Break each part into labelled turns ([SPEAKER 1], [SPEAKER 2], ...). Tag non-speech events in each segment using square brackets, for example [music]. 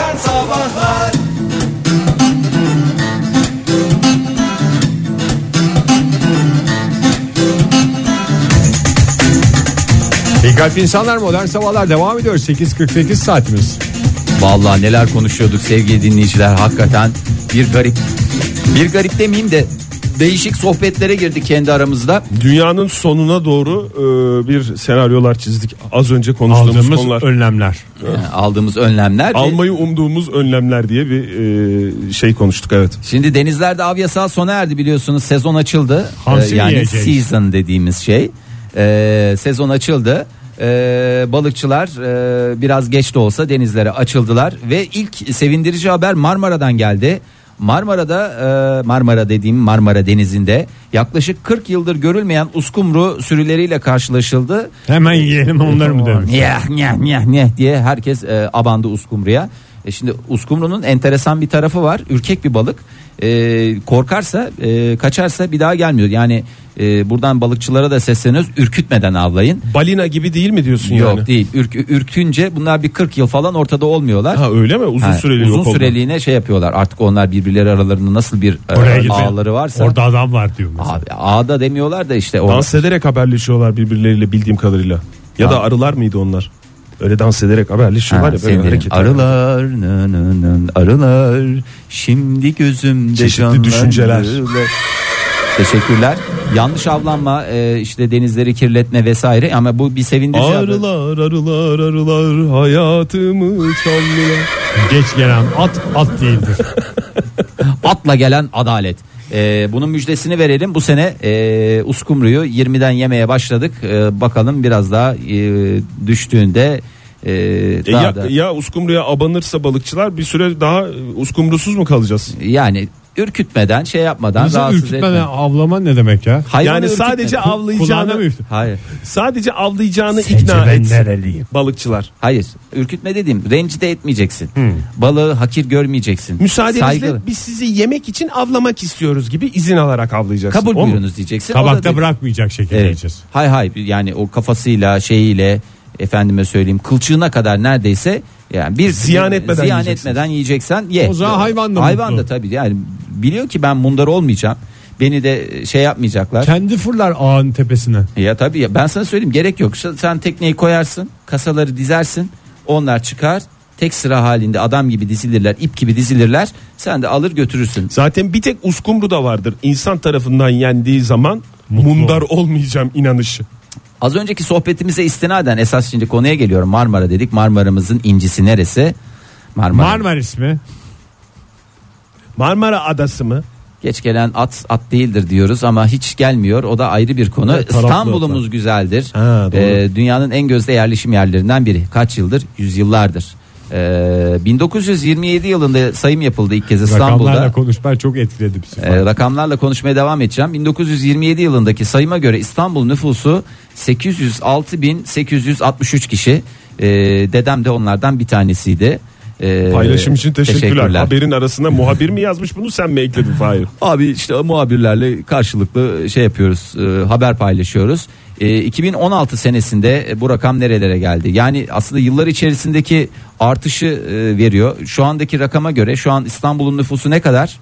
[SPEAKER 1] sabahlar
[SPEAKER 2] İyi kalp insanlar modern sabahlar devam ediyor 8.48 saatimiz
[SPEAKER 3] Vallahi neler konuşuyorduk sevgili dinleyiciler hakikaten bir garip. Bir garip demeyeyim de değişik sohbetlere girdik kendi aramızda.
[SPEAKER 4] Dünyanın sonuna doğru e, bir senaryolar çizdik. Az önce konuştuğumuz konular.
[SPEAKER 2] önlemler
[SPEAKER 3] Yani aldığımız önlemler. ve-
[SPEAKER 4] Almayı umduğumuz önlemler diye bir e, şey konuştuk evet.
[SPEAKER 3] Şimdi denizlerde av yasağı sona erdi biliyorsunuz sezon açıldı. Ee,
[SPEAKER 2] Hamsi
[SPEAKER 3] yani
[SPEAKER 2] yiyeceğiz.
[SPEAKER 3] season dediğimiz şey. Ee, sezon açıldı. Ee, balıkçılar e, biraz geç de olsa denizlere açıldılar ve ilk sevindirici haber Marmara'dan geldi. Marmara'da e, Marmara dediğim Marmara Denizi'nde yaklaşık 40 yıldır görülmeyen uskumru sürüleriyle karşılaşıldı.
[SPEAKER 2] Hemen yiyelim onları mı demiş
[SPEAKER 3] Nyah nyah nyah nyah diye herkes e, abandı uskumruya. E şimdi uskumrunun enteresan bir tarafı var. Ürkek bir balık. E, korkarsa, e, kaçarsa bir daha gelmiyor. Yani e, buradan balıkçılara da sesleniyoruz. Ürkütmeden avlayın.
[SPEAKER 4] Balina gibi değil mi diyorsun yani?
[SPEAKER 3] Yok değil. Ürk, ürkünce bunlar bir 40 yıl falan ortada olmuyorlar.
[SPEAKER 4] Ha öyle mi? Uzun
[SPEAKER 3] Ha,
[SPEAKER 4] süreli
[SPEAKER 3] uzun
[SPEAKER 4] yok oldu.
[SPEAKER 3] süreliğine şey yapıyorlar. Artık onlar birbirleri aralarında nasıl bir e,
[SPEAKER 2] Oraya gidin.
[SPEAKER 3] ağları varsa.
[SPEAKER 2] Orada adam var diyor mesela.
[SPEAKER 3] Abi, ağda demiyorlar da işte orada.
[SPEAKER 4] Dans ederek haberleşiyorlar birbirleriyle bildiğim kadarıyla. Ya da arılar mıydı onlar? Öyle dans ederek haberleşiyorlar
[SPEAKER 3] Ha,
[SPEAKER 4] ya böyle
[SPEAKER 3] sevgilim.
[SPEAKER 4] hareket.
[SPEAKER 3] arılar nı nı nı, arılar şimdi gözümde
[SPEAKER 4] Çeşitli
[SPEAKER 3] canlandı.
[SPEAKER 4] düşünceler.
[SPEAKER 3] Teşekkürler. Yanlış avlanma e, işte denizleri kirletme vesaire ama bu bir sevindirici haber.
[SPEAKER 4] Arılar arılar arılar hayatımı çaldılar.
[SPEAKER 2] Geç gelen at at değildir
[SPEAKER 3] Atla gelen adalet. E, bunun müjdesini verelim. Bu sene e, uskumruyu 20'den yemeye başladık. E, bakalım biraz daha e, düştüğünde e,
[SPEAKER 4] E
[SPEAKER 3] daha
[SPEAKER 4] ya,
[SPEAKER 3] da-
[SPEAKER 4] ya uskumruya abanırsa balıkçılar bir süre daha e, uskumrusuz mu kalacağız?
[SPEAKER 3] yani ürkütmeden şey yapmadan
[SPEAKER 2] Nasıl
[SPEAKER 3] rahatsız
[SPEAKER 2] ürkütmeden
[SPEAKER 3] etmeden.
[SPEAKER 2] avlama ne demek ya
[SPEAKER 4] Yani sadece
[SPEAKER 2] Kulağına mı
[SPEAKER 4] avlayacağını
[SPEAKER 2] üfle-
[SPEAKER 3] Hayır.
[SPEAKER 4] sadece avlayacağını ikna
[SPEAKER 2] ben
[SPEAKER 4] et
[SPEAKER 2] nereliyim?
[SPEAKER 4] balıkçılar.
[SPEAKER 3] Hayır ürkütme dediğim rencide etmeyeceksin.
[SPEAKER 2] Hmm.
[SPEAKER 3] Balığı hakir görmeyeceksin.
[SPEAKER 4] Müsaadenizle
[SPEAKER 3] Saygılı.
[SPEAKER 4] biz sizi yemek için avlamak istiyoruz gibi izin alarak avlayacaksın.
[SPEAKER 3] kabul
[SPEAKER 4] O mu?
[SPEAKER 3] buyurunuz diyeceksin. O da
[SPEAKER 2] Tabakta
[SPEAKER 3] dedi-
[SPEAKER 2] bırakmayacak şekilde
[SPEAKER 3] Evet.
[SPEAKER 2] yiyeceğiz
[SPEAKER 3] Hay hay yani o kafasıyla şeyiyle efendime söyleyeyim kılçığına kadar neredeyse yani bir
[SPEAKER 4] Ziyan etmeden
[SPEAKER 3] ziyan
[SPEAKER 4] yiyeceksin.
[SPEAKER 3] etmeden yiyeceksen ye.
[SPEAKER 2] O zaman hayvan da
[SPEAKER 3] Hayvan
[SPEAKER 2] mutlu.
[SPEAKER 3] da tabii yani biliyor ki ben mundar olmayacağım. Beni de şey yapmayacaklar.
[SPEAKER 2] Kendi fırlar ağın tepesine
[SPEAKER 3] Ya tabii ya. ben sana söyleyeyim gerek yok. Sen- Sen tekneyi koyarsın, kasaları dizersin. Onlar çıkar. Tek sıra halinde adam gibi dizilirler, ip gibi dizilirler. Sen de alır götürürsün.
[SPEAKER 4] Zaten bir tek uskumru da vardır. İnsan tarafından yendiği zaman mundar olmayacağım inanışı.
[SPEAKER 3] Az önceki sohbetimize istinaden esas şimdi konuya geliyorum. Marmara dedik. Marmara'mızın incisi neresi? Marmara.
[SPEAKER 2] Marmaris mi?
[SPEAKER 4] Marmara Adası mı?
[SPEAKER 3] Geç gelen at at değildir diyoruz ama hiç gelmiyor. O da ayrı bir konu.
[SPEAKER 4] taraflı
[SPEAKER 3] İstanbul'umuz güzeldir. Ee,
[SPEAKER 4] Ha, doğru.
[SPEAKER 3] dünyanın en gözde yerleşim yerlerinden biri. Kaç yıldır? Yüzyıllardır. Ee, 1927 yılında sayım yapıldı ilk kez İstanbul'da.
[SPEAKER 2] Rakamlarla konuşman çok etkiledi bizi
[SPEAKER 3] Ee, rakamlarla konuşmaya devam edeceğim. 1927 yılındaki sayıma göre İstanbul nüfusu 806.863 kişi. Ee, dedem de onlardan bir tanesiydi. Ee,
[SPEAKER 4] Paylaşım için teşekkürler. Haberin arasına muhabir mi yazmış bunu sen mi ekledin
[SPEAKER 3] [laughs]
[SPEAKER 4] Fahir?
[SPEAKER 3] Abi işte muhabirlerle karşılıklı şey yapıyoruz, e, haber paylaşıyoruz. E, 2016 senesinde e, bu rakam nerelere geldi? Yani aslında yıllar içerisindeki artışı e, veriyor. Şu andaki rakama göre şu an İstanbul'un nüfusu ne kadar?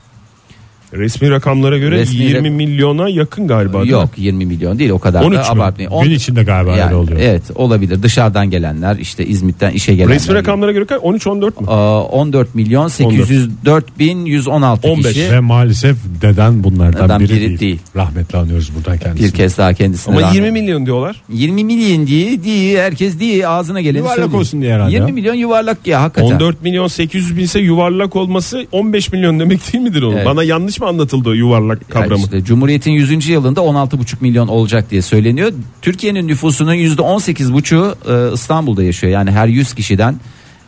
[SPEAKER 4] Resmi rakamlara göre
[SPEAKER 3] Resmi
[SPEAKER 4] 20
[SPEAKER 3] rak-
[SPEAKER 4] milyona yakın galiba. değil mi?
[SPEAKER 3] Yok 20 milyon değil o kadar
[SPEAKER 4] 13 mü?
[SPEAKER 3] da abartmayın. On-
[SPEAKER 2] Gün içinde galiba
[SPEAKER 3] Yani,
[SPEAKER 2] öyle oluyor
[SPEAKER 3] Evet olabilir dışarıdan gelenler işte İzmit'ten işe gelenler.
[SPEAKER 4] Resmi rakamlara göre kaç? 13-14 mü?
[SPEAKER 3] Aa, 14 milyon 804 bin 116
[SPEAKER 4] 15.
[SPEAKER 3] kişi.
[SPEAKER 2] Ve maalesef deden bunlardan
[SPEAKER 3] Deden
[SPEAKER 2] biri,
[SPEAKER 3] biri
[SPEAKER 2] değil.
[SPEAKER 3] değil. Rahmetli
[SPEAKER 2] Rahmetli anıyoruz buradan kendisini.
[SPEAKER 3] Bir kez daha kendisine
[SPEAKER 4] Ama
[SPEAKER 3] rahmet.
[SPEAKER 4] 20 milyon diyorlar.
[SPEAKER 3] 20 milyon diye, diye herkes diye ağzına geleni
[SPEAKER 2] Yuvarlak
[SPEAKER 3] söylüyor.
[SPEAKER 2] olsun diye herhalde
[SPEAKER 3] 20
[SPEAKER 2] ya.
[SPEAKER 3] milyon yuvarlak ya hakikaten.
[SPEAKER 4] 14 milyon 800 bin ise yuvarlak olması 15 milyon demek değil midir onun?
[SPEAKER 3] Evet.
[SPEAKER 4] Bana yanlış mı anlatıldı o yuvarlak
[SPEAKER 3] Yani
[SPEAKER 4] kavramı?
[SPEAKER 3] işte Cumhuriyet'in 100. yılında 16,5 milyon olacak diye söyleniyor. Türkiye'nin nüfusunun %18,5'u e, İstanbul'da yaşıyor. Yani her 100 kişiden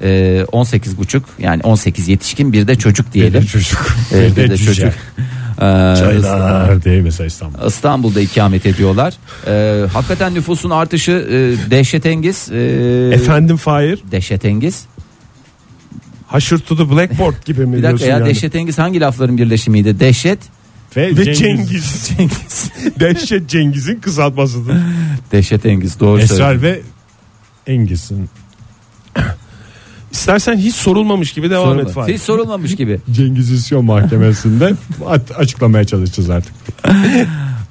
[SPEAKER 3] e, 18,5 yani 18 yetişkin bir de çocuk diyelim.
[SPEAKER 2] [laughs] çocuk.
[SPEAKER 3] E,
[SPEAKER 2] Bir de cüce.
[SPEAKER 3] [laughs] E,
[SPEAKER 2] Çaylar diye mesela İstanbul.
[SPEAKER 3] İstanbul'da ikamet ediyorlar. E, hakikaten nüfusun artışı e, dehşetengiz. E,
[SPEAKER 4] Efendim Fahir?
[SPEAKER 3] Dehşetengiz.
[SPEAKER 4] Haşır to the blackboard gibi mi
[SPEAKER 3] Bir
[SPEAKER 4] diyorsun
[SPEAKER 3] dakika ya
[SPEAKER 4] yani?
[SPEAKER 3] dehşetengiz hangi lafların birleşimiydi? Dehşet.
[SPEAKER 4] Ve Cengiz.
[SPEAKER 3] [laughs] Cengiz.
[SPEAKER 4] Dehşet Cengiz'in kısaltmasıdır.
[SPEAKER 3] Dehşetengiz doğru söylüyorsun.
[SPEAKER 2] Esrar ve Engiz'in
[SPEAKER 4] İstersen hiç sorulmamış gibi devam et
[SPEAKER 3] Sorulma-
[SPEAKER 4] Fahir.
[SPEAKER 3] Hiç sorulmamış gibi.
[SPEAKER 2] Cengiz İsyon mahkemesinde at- açıklamaya çalışacağız artık.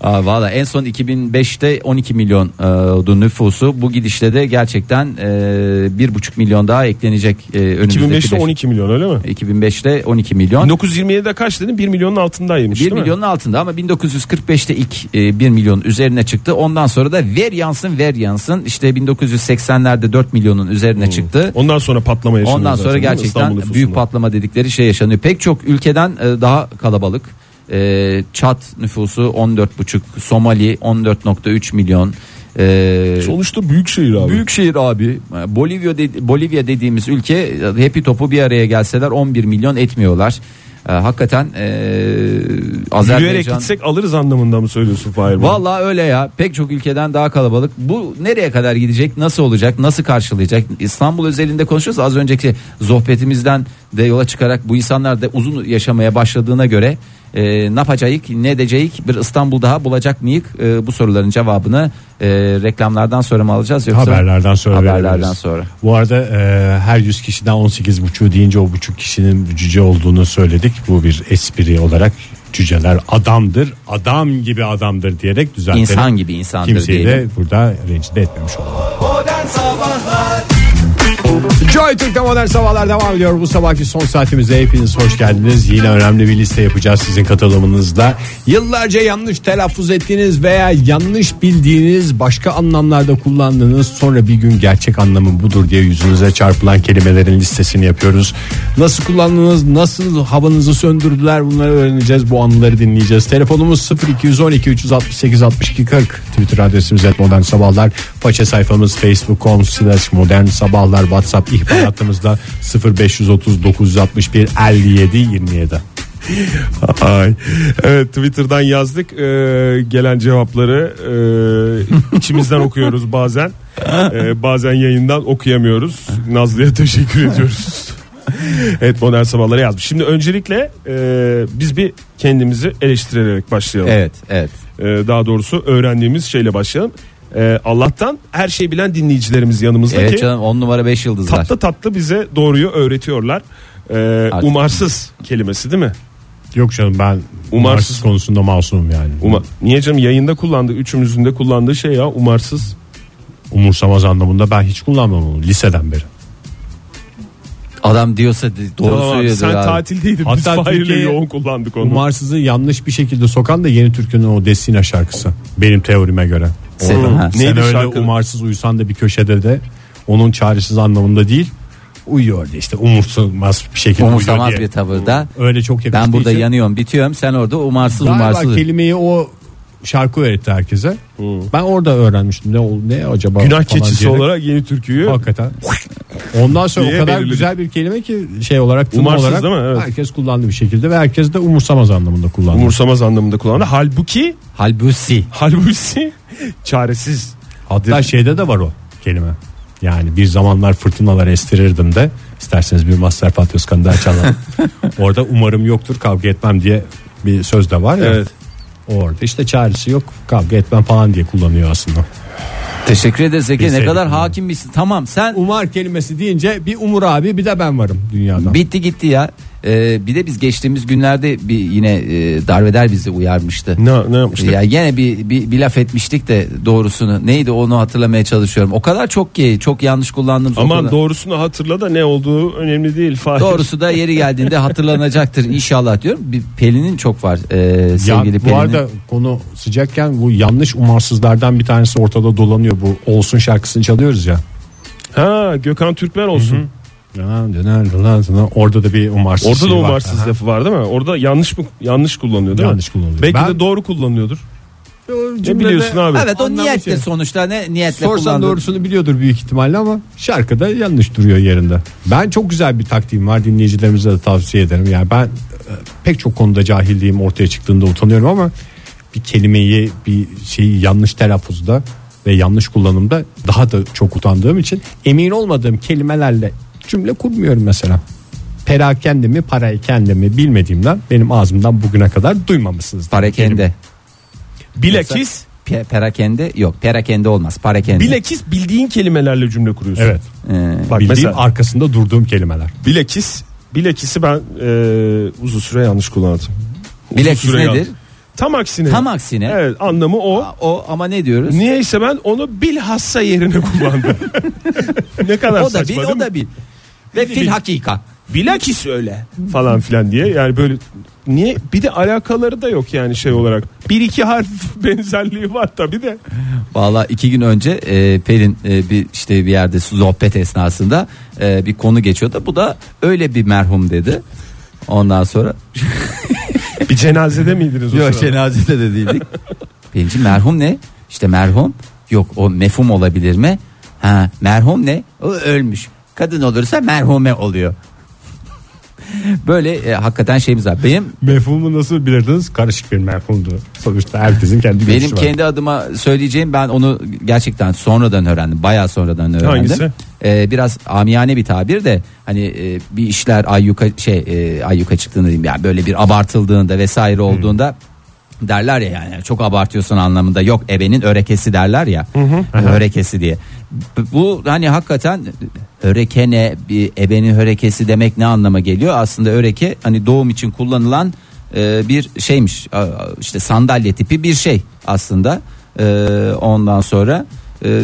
[SPEAKER 3] Aa, Valla en son 2005'te 12 milyon e, nüfusu bu gidişle de gerçekten e, 1,5 milyon daha eklenecek e, önümüzdeki beş-
[SPEAKER 4] 2005'te 12 milyon öyle mi?
[SPEAKER 3] 2005'te 12 milyon.
[SPEAKER 4] 1927'de kaç dedin? 1 milyonun altındaymış
[SPEAKER 3] 1
[SPEAKER 4] değil mi?
[SPEAKER 3] milyonun altında ama 1945'te ilk e, 1 milyon üzerine çıktı. Ondan sonra da ver yansın ver yansın işte 1980'lerde 4 milyonun üzerine çıktı.
[SPEAKER 4] Ondan sonra patlama yaşanıyor
[SPEAKER 3] Ondan sonra
[SPEAKER 4] Hmm. zaten değil mi İstanbul
[SPEAKER 3] gerçekten
[SPEAKER 4] nüfusunda?
[SPEAKER 3] büyük patlama dedikleri şey yaşanıyor. Pek çok ülkeden e, daha kalabalık. E, Çat nüfusu 14,5, Somali 14,3 milyon. E,
[SPEAKER 4] Sonuçta büyük şehir abi.
[SPEAKER 3] Büyükşehir abi e, Bolivya de- Bolivya dediğimiz ülke e, hepi topu bir araya gelseler 11 milyon etmiyorlar. E, hakikaten e,
[SPEAKER 4] Yürüyerek
[SPEAKER 3] Azerbaycan
[SPEAKER 4] gitsek alırız anlamında mı söylüyorsun Fahir? bunu?
[SPEAKER 3] Vallahi öyle ya. Pek çok ülkeden daha kalabalık. Bu nereye kadar gidecek? Nasıl olacak? Nasıl karşılayacak? İstanbul özelinde konuşuyoruz. Az önceki sohbetimizden de yola çıkarak bu insanlar da uzun yaşamaya başladığına göre e, ne yapacağız? Ne edeceğiz? Bir İstanbul daha bulacak mıyız? E, bu soruların cevabını e, reklamlardan sonra mı alacağız yoksa
[SPEAKER 2] Haberlerden sonra
[SPEAKER 3] Haberlerden
[SPEAKER 2] verebiliriz.
[SPEAKER 3] sonra.
[SPEAKER 2] Bu arada e, her 100 kişiden 18 buçuğu deyince o buçuk kişinin cüce olduğunu söyledik. Bu bir espri olarak cüceler adamdır, adam gibi adamdır diyerek düzeltelim.
[SPEAKER 3] İnsan gibi insandır
[SPEAKER 2] Kimseyi
[SPEAKER 3] diyelim.
[SPEAKER 2] de burada rencide etmemiş olalım. Joy Türk'te modern sabahlar devam ediyor. Bu sabahki son saatimize hepiniz hoş geldiniz. Yine önemli bir liste yapacağız sizin katılımınızla. Yıllarca yanlış telaffuz ettiğiniz veya yanlış bildiğiniz başka anlamlarda kullandığınız sonra bir gün gerçek anlamı budur diye yüzünüze çarpılan kelimelerin listesini yapıyoruz. Nasıl kullandınız, nasıl havanızı söndürdüler bunları öğreneceğiz. Bu anıları dinleyeceğiz. Telefonumuz 0212 368 62 40. Twitter adresimiz et modern sabahlar. Faça sayfamız facebook.com slash modern sabahlar. Whatsapp [laughs] ihbar hattımızda 0530 961 57 27.
[SPEAKER 4] [laughs] Ay. Evet Twitter'dan yazdık. Ee, gelen cevapları
[SPEAKER 3] [laughs]
[SPEAKER 4] e, içimizden okuyoruz bazen. Ee, bazen yayından okuyamıyoruz. Nazlı'ya teşekkür
[SPEAKER 3] [laughs]
[SPEAKER 4] ediyoruz. evet modern sabahlara yazmış. Şimdi öncelikle e, biz bir kendimizi eleştirerek başlayalım.
[SPEAKER 3] Evet, evet.
[SPEAKER 4] Ee, daha doğrusu öğrendiğimiz şeyle başlayalım. Ee, Allah'tan her şey bilen dinleyicilerimiz yanımızdaki.
[SPEAKER 3] Evet canım 10 numara 5 yıldızlar.
[SPEAKER 4] tatlı tatlı bize doğruyu öğretiyorlar. Ee,
[SPEAKER 3] Artık.
[SPEAKER 4] umarsız kelimesi değil mi?
[SPEAKER 2] Yok canım ben umarsız
[SPEAKER 4] Umarsız
[SPEAKER 2] konusunda masumum yani.
[SPEAKER 4] Uma, niye canım yayında kullandığı üçümüzün de kullandığı şey ya umarsız.
[SPEAKER 2] Umursamaz anlamında ben hiç kullanmam onu liseden beri.
[SPEAKER 3] Adam diyorsa de- doğru
[SPEAKER 4] Tamam abi,
[SPEAKER 3] söylüyordur
[SPEAKER 4] sen
[SPEAKER 3] abi.
[SPEAKER 4] tatildeydin biz
[SPEAKER 2] Hatta
[SPEAKER 4] Fahir'le
[SPEAKER 2] Türkiye'ye-
[SPEAKER 4] yoğun kullandık onu.
[SPEAKER 2] Umarsızı yanlış bir şekilde sokan da Yeni Türkü'nün o Destina şarkısı. Benim teorime göre.
[SPEAKER 3] Sen-
[SPEAKER 2] Oğlum,
[SPEAKER 3] ha.
[SPEAKER 2] sen
[SPEAKER 4] Neydi
[SPEAKER 2] öyle
[SPEAKER 4] şarkının?
[SPEAKER 2] umarsız uyusan da bir köşede de onun çaresiz anlamında değil. Uyuyor da işte umursamaz bir şekilde
[SPEAKER 3] Umursamaz
[SPEAKER 2] uyuyor diye.
[SPEAKER 3] bir tavırda.
[SPEAKER 2] Öyle çok yakıştığı
[SPEAKER 3] Ben burada
[SPEAKER 2] için-
[SPEAKER 3] yanıyorum, bitiyorum. Sen orada umarsız
[SPEAKER 2] Galiba
[SPEAKER 3] umarsız.
[SPEAKER 2] kelimeyi o şarkı öğretti herkese. Ben orada öğrenmiştim ne oldu ne acaba
[SPEAKER 4] Hmm. Günah
[SPEAKER 2] falan
[SPEAKER 4] keçisi
[SPEAKER 2] diyerek.
[SPEAKER 4] olarak yeni türküyü
[SPEAKER 2] Hakikaten. Ondan sonra o
[SPEAKER 4] Diye
[SPEAKER 2] kadar
[SPEAKER 4] belirledik.
[SPEAKER 2] güzel bir kelime ki şey olarak tım
[SPEAKER 4] Umarsız
[SPEAKER 2] olarak
[SPEAKER 4] değil mi? Evet.
[SPEAKER 2] herkes kullandı bir şekilde ve herkes de umursamaz anlamında kullandı.
[SPEAKER 4] umursamaz anlamında kullandı. Halbuki
[SPEAKER 3] Halbusi.
[SPEAKER 4] halbuki [laughs] çaresiz.
[SPEAKER 2] Hatta şeyde de var o kelime. Yani bir zamanlar fırtınalar estirirdim de isterseniz bir Master Fatih Özkan'ı da [laughs] açalım. Orada umarım yoktur kavga etmem diye bir söz de var ya.
[SPEAKER 4] Evet.
[SPEAKER 2] Orada işte çaresi yok kavga etmem falan diye kullanıyor aslında.
[SPEAKER 3] Teşekkür ederiz Ege. Ne
[SPEAKER 2] Bilseydim
[SPEAKER 3] kadar
[SPEAKER 2] bunu.
[SPEAKER 3] hakim misin? Tamam sen
[SPEAKER 2] Umar kelimesi deyince bir Umur abi bir de ben varım dünyada.
[SPEAKER 3] bitti gitti ya. Ee, bir de biz geçtiğimiz günlerde bir yine e, darveder bizi uyarmıştı.
[SPEAKER 4] Ne, ne yapmıştık?
[SPEAKER 3] Ya yine bir, bir bir laf etmiştik de doğrusunu. Neydi onu hatırlamaya çalışıyorum. O kadar çok ki çok yanlış kullandığımız o
[SPEAKER 4] Aman
[SPEAKER 3] kadar-
[SPEAKER 4] doğrusunu hatırla da ne olduğu önemli değil. Fahir.
[SPEAKER 3] Doğrusu da yeri geldiğinde hatırlanacaktır inşallah diyorum. Bir Pelin'in çok var e,
[SPEAKER 2] Ya,
[SPEAKER 3] sevgili Pelin'in.
[SPEAKER 2] bu arada konu sıcakken bu yanlış umarsızlardan bir tanesi ortada dolanıyor bu olsun şarkısını çalıyoruz ya.
[SPEAKER 4] Ha Gökhan Türkmen olsun.
[SPEAKER 2] Orada da bir umarsız
[SPEAKER 4] Orada
[SPEAKER 2] şeyi
[SPEAKER 4] da
[SPEAKER 2] var.
[SPEAKER 4] umarsız lafı var değil mi? Orada yanlış mı yanlış kullanıyor değil
[SPEAKER 2] Yanlış
[SPEAKER 4] mi?
[SPEAKER 2] kullanılıyor.
[SPEAKER 4] Belki
[SPEAKER 2] Ben-
[SPEAKER 4] de doğru kullanıyordur.
[SPEAKER 2] Cümlede-
[SPEAKER 4] biliyorsun abi?
[SPEAKER 3] Evet o
[SPEAKER 2] Anlamlı
[SPEAKER 3] niyetle
[SPEAKER 2] şey.
[SPEAKER 3] sonuçta ne niyetle
[SPEAKER 2] Sorsan
[SPEAKER 3] kullandı.
[SPEAKER 2] doğrusunu biliyordur büyük ihtimalle ama şarkıda yanlış duruyor yerinde. Ben çok güzel bir taktiğim var dinleyicilerimize de tavsiye ederim. Yani ben e, pek çok konuda cahilliğim ortaya çıktığında utanıyorum ama bir kelimeyi bir şeyi yanlış telaffuzda ve yanlış kullanımda daha da çok utandığım için emin olmadığım kelimelerle cümle kurmuyorum mesela. Perakende mi parakende mi bilmediğimden benim ağzımdan bugüne kadar duymamışsınız.
[SPEAKER 3] Parakende.
[SPEAKER 4] Bilakis
[SPEAKER 3] pe- perakende yok perakende olmaz parakende.
[SPEAKER 4] Bilakis bildiğin kelimelerle cümle kuruyorsun.
[SPEAKER 2] Evet.
[SPEAKER 3] Ee,
[SPEAKER 2] Bak
[SPEAKER 4] Bildiğim
[SPEAKER 2] mesela arkasında durduğum kelimeler.
[SPEAKER 4] Bilakis bilakisi ben e, uzun süre yanlış kullandım. Uzun
[SPEAKER 3] Bilakis
[SPEAKER 4] süre
[SPEAKER 3] nedir?
[SPEAKER 4] yanlış. Tam aksine.
[SPEAKER 3] Tam aksine.
[SPEAKER 4] Evet anlamı o.
[SPEAKER 3] O ama ne diyoruz?
[SPEAKER 4] Niyeyse ben onu bilhassa yerine kullandım. [laughs] ne kadar
[SPEAKER 3] o da
[SPEAKER 4] saçma
[SPEAKER 3] bil
[SPEAKER 4] değil
[SPEAKER 3] o
[SPEAKER 4] mi?
[SPEAKER 3] da bil. Ve fil
[SPEAKER 4] bil.
[SPEAKER 3] hakika.
[SPEAKER 4] Bilakis öyle falan filan diye. Yani böyle niye bir de alakaları da yok yani şey olarak. Bir iki harf [laughs] benzerliği var tabi de.
[SPEAKER 3] Valla iki gün önce e, Pelin e, bir işte bir yerde sohbet esnasında e, bir konu geçiyordu. Bu da öyle bir merhum dedi. Ondan sonra
[SPEAKER 4] Bir cenazede miydiniz o
[SPEAKER 3] yok
[SPEAKER 4] sırada?
[SPEAKER 3] cenazede de [laughs] değildik. Pelinciğim merhum ne? İşte merhum yok o mefhum olabilir mi? Ha merhum ne? O ölmüş. Kadın olursa merhume oluyor. [laughs] Böyle e, hakikaten şeyimiz var. Benim
[SPEAKER 2] Mefhumu nasıl bilirdiniz? Karışık bir mefhumdu. Sonuçta herkesin kendi görüşü
[SPEAKER 3] Benim
[SPEAKER 2] var.
[SPEAKER 3] kendi adıma söyleyeceğim ben onu gerçekten sonradan öğrendim. Bayağı sonradan öğrendim.
[SPEAKER 4] Hangisi?
[SPEAKER 3] Ee, biraz amiyane bir tabir de hani e, bir işler ayyuka şey e, ayyuka çıktığında diyeyim yani böyle bir abartıldığında vesaire olduğunda derler ya yani çok abartıyorsun anlamında yok ebenin örekesi derler ya. hani Örekesi diye. B- Bu hani hakikaten öreke ne bir ebenin örekesi demek ne anlama geliyor? Aslında öreke hani doğum için kullanılan e, bir şeymiş. A- a- işte sandalye tipi bir şey aslında. E, ondan sonra e,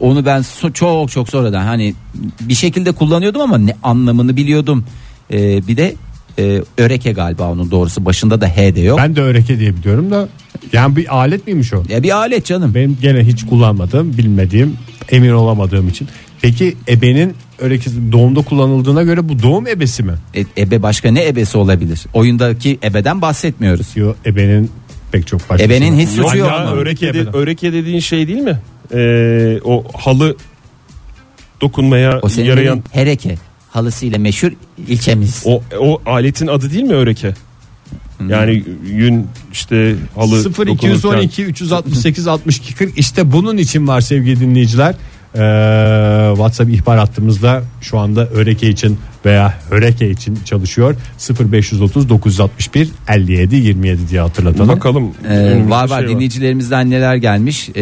[SPEAKER 3] onu ben so- çok çok sonradan hani bir şekilde kullanıyordum ama ne anlamını biliyordum. E, bir de e, öreke galiba onun doğrusu başında da H de yok.
[SPEAKER 2] Ben de öreke diye biliyorum da yani bir alet miymiş o?
[SPEAKER 3] Ya E, bir alet canım.
[SPEAKER 2] Benim gene hiç kullanmadığım, bilmediğim, emin olamadığım için. Peki ebenin örekesi doğumda kullanıldığına göre bu doğum ebesi mi?
[SPEAKER 3] E- ebe başka ne ebesi olabilir? Oyundaki ebeden bahsetmiyoruz.
[SPEAKER 2] Diyor ebenin pek çok başka.
[SPEAKER 3] Ebenin hiç
[SPEAKER 4] Yok
[SPEAKER 3] suçu yok.
[SPEAKER 4] ya
[SPEAKER 3] onun.
[SPEAKER 4] öreke, de- öreke dediğin şey değil mi? Ee, o halı dokunmaya
[SPEAKER 3] O senin
[SPEAKER 4] yarayan
[SPEAKER 3] dediğin hereke halısıyla meşhur ilçemiz.
[SPEAKER 4] o o aletin adı değil mi öreke?
[SPEAKER 3] Hmm.
[SPEAKER 4] Yani yün işte halı
[SPEAKER 2] 0 212 368 62 40 işte bunun için var sevgili dinleyiciler. Ee, WhatsApp ihbar hattımızda şu anda öreke için veya öreke için çalışıyor. 0530 961 57 27 diye hatırlatalım.
[SPEAKER 4] Bakalım.
[SPEAKER 3] Ee,
[SPEAKER 4] önümüzde
[SPEAKER 3] var
[SPEAKER 4] şey
[SPEAKER 3] var dinleyicilerimizden neler gelmiş. Ee,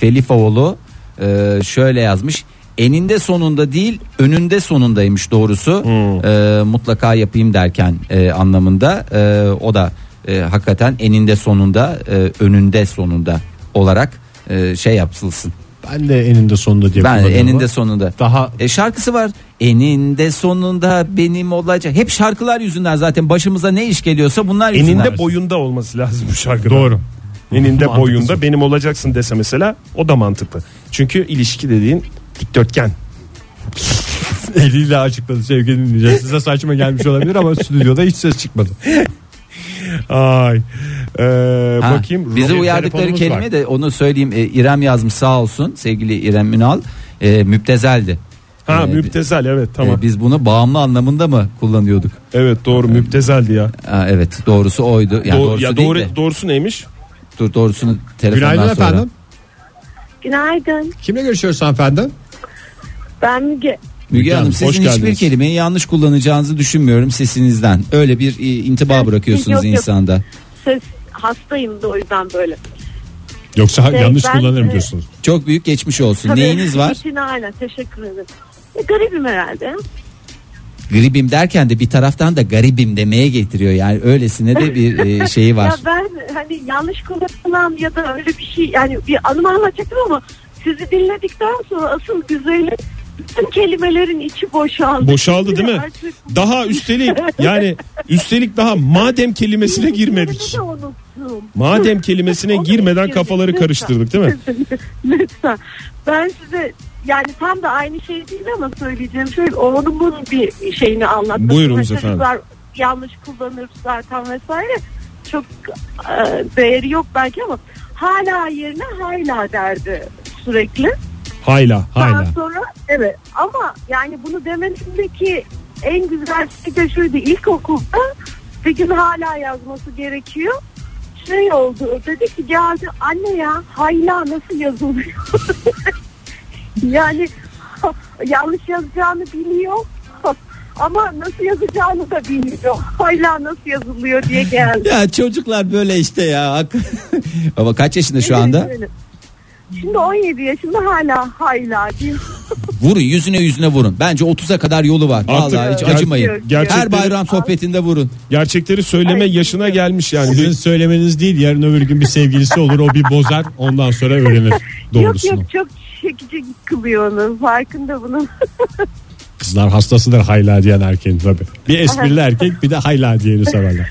[SPEAKER 3] Felifoğlu e, şöyle yazmış. Eninde sonunda değil önünde sonundaymış doğrusu. Ee, mutlaka yapayım derken e, anlamında. Ee, o da e, hakikaten eninde sonunda e, önünde sonunda olarak e, şey yapılsın.
[SPEAKER 2] Ben de eninde sonunda diye
[SPEAKER 3] Ben
[SPEAKER 2] kullanıyorum.
[SPEAKER 3] eninde sonunda.
[SPEAKER 2] daha
[SPEAKER 3] E şarkısı var. Eninde sonunda benim olacak. Hep şarkılar yüzünden zaten başımıza ne iş geliyorsa bunlar yüzünden.
[SPEAKER 4] Eninde boyunda olması lazım bu şarkıda.
[SPEAKER 2] doğru.
[SPEAKER 4] Eninde
[SPEAKER 2] Mantıklı
[SPEAKER 4] boyunda
[SPEAKER 2] soru.
[SPEAKER 4] benim olacaksın dese mesela o da mantıklı. Çünkü ilişki dediğin dikdörtgen.
[SPEAKER 2] Eliyle açıkladı sevgili dinleyiciler. Size saçma gelmiş olabilir ama stüdyoda hiç ses [laughs] çıkmadı.
[SPEAKER 4] Ay. Ee,
[SPEAKER 3] Ha,
[SPEAKER 4] bakayım.
[SPEAKER 3] Bizi
[SPEAKER 4] Ro-
[SPEAKER 3] uyardıkları
[SPEAKER 2] telefonumuz
[SPEAKER 3] kelime
[SPEAKER 2] var.
[SPEAKER 3] de onu söyleyeyim. E, İrem yazmış sağ olsun sevgili İrem Ünal. E, müptezeldi.
[SPEAKER 4] Ha
[SPEAKER 3] E,
[SPEAKER 4] müptezel evet
[SPEAKER 3] e,
[SPEAKER 4] tamam.
[SPEAKER 3] biz bunu bağımlı anlamında mı kullanıyorduk?
[SPEAKER 4] Evet doğru müptezeldi ya.
[SPEAKER 3] Ha, evet doğrusu oydu. Yani
[SPEAKER 4] Doğ-
[SPEAKER 3] doğrusu
[SPEAKER 4] ya
[SPEAKER 3] değil
[SPEAKER 4] doğru
[SPEAKER 3] de,
[SPEAKER 4] doğrusu neymiş?
[SPEAKER 3] dur, doğrusunu telefondan
[SPEAKER 2] Günaydın
[SPEAKER 3] sonra.
[SPEAKER 2] efendim.
[SPEAKER 1] Günaydın.
[SPEAKER 2] Kimle görüşüyoruz hanımefendi?
[SPEAKER 1] Ben Müge.
[SPEAKER 3] Müge Hanım
[SPEAKER 4] Hoş
[SPEAKER 3] sizin hiçbir
[SPEAKER 4] geldiniz.
[SPEAKER 3] kelimeyi yanlış kullanacağınızı düşünmüyorum sesinizden. Öyle bir e, intiba
[SPEAKER 1] Evet,
[SPEAKER 3] bırakıyorsunuz
[SPEAKER 1] yok, yok.
[SPEAKER 3] insanda.
[SPEAKER 1] Ses hastayım da o yüzden böyle.
[SPEAKER 2] Yoksa
[SPEAKER 1] Şey,
[SPEAKER 2] yanlış
[SPEAKER 1] ben-
[SPEAKER 2] kullanırım diyorsunuz.
[SPEAKER 3] Çok büyük geçmiş olsun.
[SPEAKER 1] Tabii,
[SPEAKER 3] Neyiniz var?
[SPEAKER 1] Rutin aynen teşekkür ederim. E, garibim herhalde.
[SPEAKER 3] Gribim derken de bir taraftan da garibim demeye getiriyor. Yani öylesine de bir e, şeyi var.
[SPEAKER 1] Ya ben hani yanlış kullanılan ya da öyle bir şey yani bir anımı anlatacaktım ama sizi dinledikten sonra asıl güzeli bütün kelimelerin içi boşaldı.
[SPEAKER 4] Boşaldı değil mi?
[SPEAKER 1] Artık-
[SPEAKER 4] Daha üstelik yani üstelik daha madem kelimesine girmedik.
[SPEAKER 1] Kelimeleri de unuttum.
[SPEAKER 4] Madem kelimesine
[SPEAKER 1] Onu
[SPEAKER 4] girmeden
[SPEAKER 1] girdik,
[SPEAKER 4] kafaları
[SPEAKER 1] lütfen.
[SPEAKER 4] karıştırdık değil mi?
[SPEAKER 1] Lütfen. Ben size yani tam da aynı şey değil ama söyleyeceğim şöyle onun bunun bir şeyini anlatmak.
[SPEAKER 4] Buyurunuz
[SPEAKER 1] Mesela
[SPEAKER 4] efendim.
[SPEAKER 1] Çocuklar yanlış kullanır zaten vesaire. Çok e, değeri yok belki ama hala yerine hala derdi sürekli.
[SPEAKER 4] Hayla hayla.
[SPEAKER 1] Daha sonra evet ama yani bunu demesindeki en güzel şey de şuydu ilkokulda bir gün hala yazması gerekiyor. Şey oldu dedi ki geldi anne ya hayla nasıl yazılıyor? [laughs] yani yanlış yazacağını biliyor. [laughs] Ama nasıl yazacağını da bilmiyor. [laughs] Hala nasıl yazılıyor diye geldi.
[SPEAKER 3] Ya çocuklar böyle işte ya. Hak- [laughs] Baba kaç yaşında şu anda?
[SPEAKER 1] Şimdi 17 yaşında hala hayla diyor.
[SPEAKER 3] Vurun yüzüne yüzüne vurun. Bence 30'a kadar yolu var. [laughs]
[SPEAKER 4] Artık
[SPEAKER 3] Vallahi hiç
[SPEAKER 4] ger-
[SPEAKER 3] acımayın.
[SPEAKER 4] gerçekleri-
[SPEAKER 3] Her bayram sohbetinde vurun.
[SPEAKER 4] Gerçekleri söyleme
[SPEAKER 1] Ay,
[SPEAKER 4] yaşına
[SPEAKER 1] bilmiyorum.
[SPEAKER 4] gelmiş yani.
[SPEAKER 2] Sizin söylemeniz değil yarın öbür gün bir sevgilisi olur o bir bozar ondan sonra öğrenir
[SPEAKER 1] [laughs] Yok
[SPEAKER 2] doğrusunu.
[SPEAKER 1] yok çok çekici kılıyor onu. Farkında bunun. [laughs]
[SPEAKER 2] Kızlar hastasıdır hayla diyen erkeğin tabii. Bir esprili erkek bir de hayla diyeni
[SPEAKER 1] [laughs]
[SPEAKER 2] severler.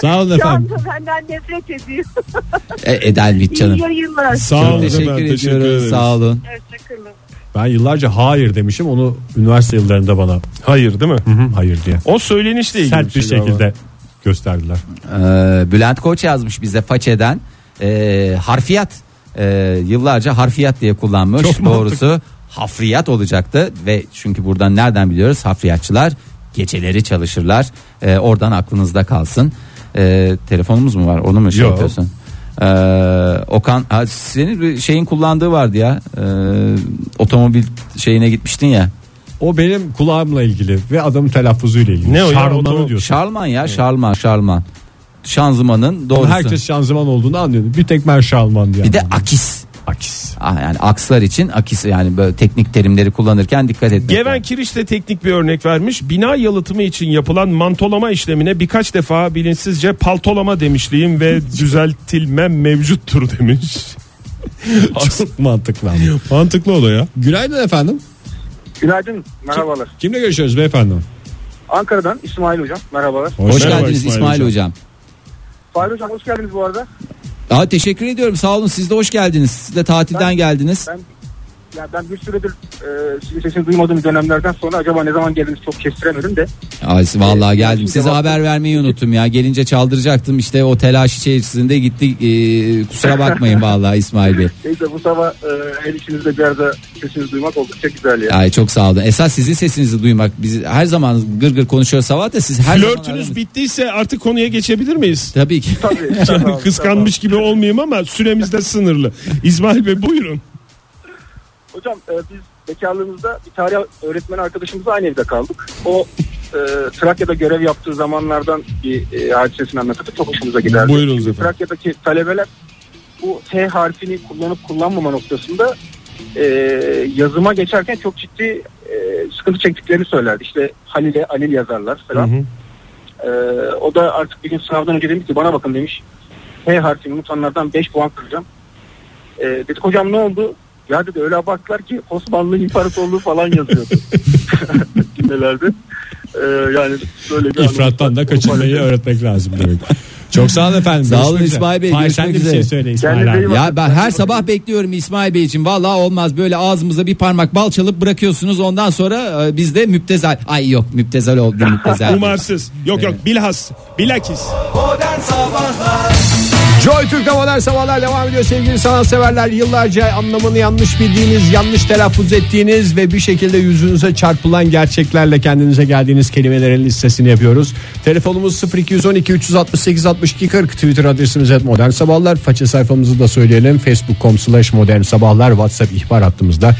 [SPEAKER 2] Sağ olun
[SPEAKER 1] Şu
[SPEAKER 2] efendim.
[SPEAKER 1] anda benden nefret ediyor.
[SPEAKER 3] E, Edelvit
[SPEAKER 1] İyi
[SPEAKER 3] canım.
[SPEAKER 1] yayınlar.
[SPEAKER 4] Sağ
[SPEAKER 3] Çok
[SPEAKER 4] olun
[SPEAKER 3] teşekkür
[SPEAKER 4] efendim, teşekkür
[SPEAKER 3] ediyoruz.
[SPEAKER 4] ederiz.
[SPEAKER 3] Sağ olun.
[SPEAKER 1] Hoşçakalın.
[SPEAKER 2] Ben yıllarca hayır demişim onu üniversite yıllarında bana
[SPEAKER 4] Hayır değil mi?
[SPEAKER 2] "Hı hı, hayır diye.
[SPEAKER 4] O söylenişle ilgili
[SPEAKER 2] Sert bir
[SPEAKER 4] şey galiba.
[SPEAKER 2] şekilde gösterdiler.
[SPEAKER 3] Ee, Bülent Koç yazmış bize façeden Ee, harfiyat Ee, yıllarca harfiyat diye kullanmış doğrusu hafriyat olacaktı ve çünkü buradan nereden biliyoruz hafriyatçılar geceleri çalışırlar Ee, oradan aklınızda kalsın Ee, telefonumuz mu var onu mu şey
[SPEAKER 2] Yok.
[SPEAKER 3] yapıyorsun Ee, Okan ha, senin bir şeyin kullandığı vardı ya Ee, otomobil şeyine gitmiştin ya
[SPEAKER 2] O benim kulağımla ilgili ve adamın telaffuzuyla ilgili.
[SPEAKER 4] Ne o ya?
[SPEAKER 2] Şarmanı
[SPEAKER 4] Otomo-
[SPEAKER 2] diyorsun.
[SPEAKER 3] Şarlman ya Şarlman Şarlman şanzımanın
[SPEAKER 2] Ama
[SPEAKER 3] doğrusu
[SPEAKER 2] Herkes şanzıman olduğunu anlıyordu. Bir tek ben şarman diye.
[SPEAKER 3] bir de
[SPEAKER 2] anladım.
[SPEAKER 3] akis
[SPEAKER 2] akis.
[SPEAKER 3] Ah, yani akslar için akis yani böyle teknik terimleri kullanırken dikkat etmek.
[SPEAKER 4] Geven Kiriş'te teknik bir örnek vermiş. Bina yalıtımı için yapılan mantolama işlemine birkaç defa bilinçsizce paltolama demişliğim ve düzeltilmem mevcuttur demiş.
[SPEAKER 2] Çok [laughs] mantıklı ama. Mantıklı o da ya. Günaydın efendim.
[SPEAKER 5] Günaydın, merhabalar.
[SPEAKER 2] Kimle görüşüyoruz beyefendi?
[SPEAKER 5] Ankara'dan İsmail Hocam, merhabalar.
[SPEAKER 3] Hoş
[SPEAKER 2] Merhaba
[SPEAKER 3] geldiniz İsmail, hocam.
[SPEAKER 5] Fahri Hocam hoş geldiniz bu arada.
[SPEAKER 3] Aa, teşekkür ediyorum sağ olun siz de hoş geldiniz. Siz de tatilden
[SPEAKER 5] Ben-
[SPEAKER 3] geldiniz.
[SPEAKER 5] Ben ya ben bir süredir e, sizin sesini duymadığım dönemlerden sonra acaba ne zaman geldiniz çok kestiremedim de.
[SPEAKER 3] Ay, vallahi geldim.
[SPEAKER 5] şimdi
[SPEAKER 3] Size
[SPEAKER 5] bak-
[SPEAKER 3] haber vermeyi unuttum ya. Gelince çaldıracaktım işte o telaş içerisinde gitti. Ee, kusura bakmayın vallahi İsmail Bey.
[SPEAKER 5] Neyse bu sabah e, el içinizde bir arada sesinizi duymak oldukça güzel ya.
[SPEAKER 3] Ay çok sağ olun. Esas sizin sesinizi duymak. Biz her zaman gır gır konuşuyor Savat da siz her zaman
[SPEAKER 4] Flörtünüz
[SPEAKER 3] aramız-
[SPEAKER 4] bittiyse artık konuya geçebilir miyiz?
[SPEAKER 3] Tabii ki.
[SPEAKER 5] Tabii. tamam,
[SPEAKER 4] Kıskanmış gibi olmayayım ama süremiz de sınırlı. İsmail Bey buyurun.
[SPEAKER 5] tamam. Hocam e, biz bekarlığımızda bir tarih öğretmeni arkadaşımızla aynı evde kaldık. O e, Trakya'da görev yaptığı zamanlardan bir e, hadisesini anlatıp çok hoşumuza giderdi.
[SPEAKER 4] Buyurunuz efendim.
[SPEAKER 5] Trakya'daki talebeler bu T harfini kullanıp kullanmama noktasında e, yazıma geçerken çok ciddi e, sıkıntı çektiklerini söylerdi. İşte Halil'e Alil yazarlar falan.
[SPEAKER 4] Hı hı.
[SPEAKER 5] E, o da artık bir gün sınavdan önce demiş ki bana bakın demiş. H harfini unutanlardan 5 puan kıracağım. E, dedik hocam ne oldu? Ya dedi öyle abarttılar ki Osmanlı İmparatorluğu falan yazıyordu. [laughs] Cümlelerde. E, yani böyle bir
[SPEAKER 2] İfrattan da kaçınmayı öğretmek lazım demek. Çok sağ olun efendim.
[SPEAKER 3] Sağ olun
[SPEAKER 2] Görüşmek üzere.
[SPEAKER 3] İsmail Bey,
[SPEAKER 2] Hayır, sen de
[SPEAKER 3] görüşmek
[SPEAKER 2] bir şey
[SPEAKER 3] üzere.
[SPEAKER 2] söyle İsmail
[SPEAKER 5] Kendinize
[SPEAKER 2] abi.
[SPEAKER 5] iyi bakın.
[SPEAKER 3] Ya ben her sabah bekliyorum İsmail Bey için. Vallahi olmaz böyle ağzımıza bir parmak bal çalıp bırakıyorsunuz. Ondan sonra e, biz de müptezel. Ay yok müptezel
[SPEAKER 4] [laughs]
[SPEAKER 3] oldu müptezel.
[SPEAKER 4] Umarsız. Yok yok bilhas. Bilakis.
[SPEAKER 2] Joy Türk'te modern sabahlar devam ediyor sevgili sanatseverler. Yıllarca anlamını yanlış bildiğiniz, yanlış telaffuz ettiğiniz ve bir şekilde yüzünüze çarpılan gerçeklerle kendinize geldiğiniz kelimelerin listesini yapıyoruz. Telefonumuz 0212 368 62 40 Twitter adresimiz @modernsabahlar. modern sabahlar. Faça sayfamızı da söyleyelim. Facebook.com slash modern sabahlar. WhatsApp ihbar hattımızda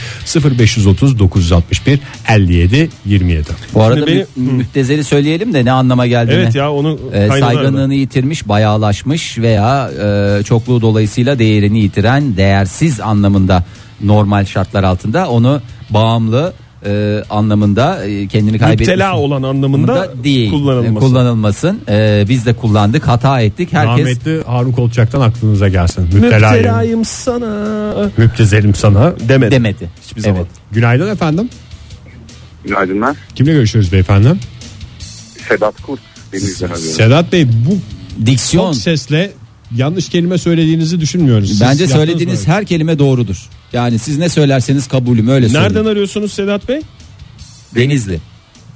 [SPEAKER 2] 0530 961 57 27.
[SPEAKER 3] Bu arada
[SPEAKER 4] Şimdi
[SPEAKER 3] mü- müptezeli söyleyelim de ne anlama geldiğini.
[SPEAKER 4] Evet ya onu
[SPEAKER 3] E,
[SPEAKER 4] kaynarlar.
[SPEAKER 3] saygınlığını yitirmiş, bayağılaşmış veya e, çokluğu dolayısıyla değerini yitiren, değersiz anlamında normal şartlar altında onu bağımlı e, anlamında e, kendini kaybetmiş.
[SPEAKER 4] Müptela olan anlamında
[SPEAKER 3] Da değil.
[SPEAKER 4] kullanılması.
[SPEAKER 3] Kullanılmasın. E, biz de kullandık, hata ettik. Herkes
[SPEAKER 2] Rahmetli Harun Kolçak'tan aklınıza gelsin. Müptelayım.
[SPEAKER 4] Müptelayım sana.
[SPEAKER 2] Müptezelim sana.
[SPEAKER 4] Demedi.
[SPEAKER 3] demedi. Hiçbir
[SPEAKER 4] zaman.
[SPEAKER 2] Günaydın efendim.
[SPEAKER 6] Günaydınlar.
[SPEAKER 2] Kimle görüşüyoruz beyefendi?
[SPEAKER 6] Sedat Kurt. Denizden arıyorum.
[SPEAKER 2] Sedat Bey bu
[SPEAKER 3] Diksiyon.
[SPEAKER 2] çok sesle yanlış kelime söylediğinizi düşünmüyoruz. Siz
[SPEAKER 3] Bence
[SPEAKER 2] yaptınız mı
[SPEAKER 3] söylediğiniz
[SPEAKER 2] öyle?
[SPEAKER 3] her kelime doğrudur. Yani siz ne söylerseniz kabulüm öyle söyleyeyim.
[SPEAKER 4] Nereden arıyorsunuz Sedat Bey?
[SPEAKER 3] Denizli.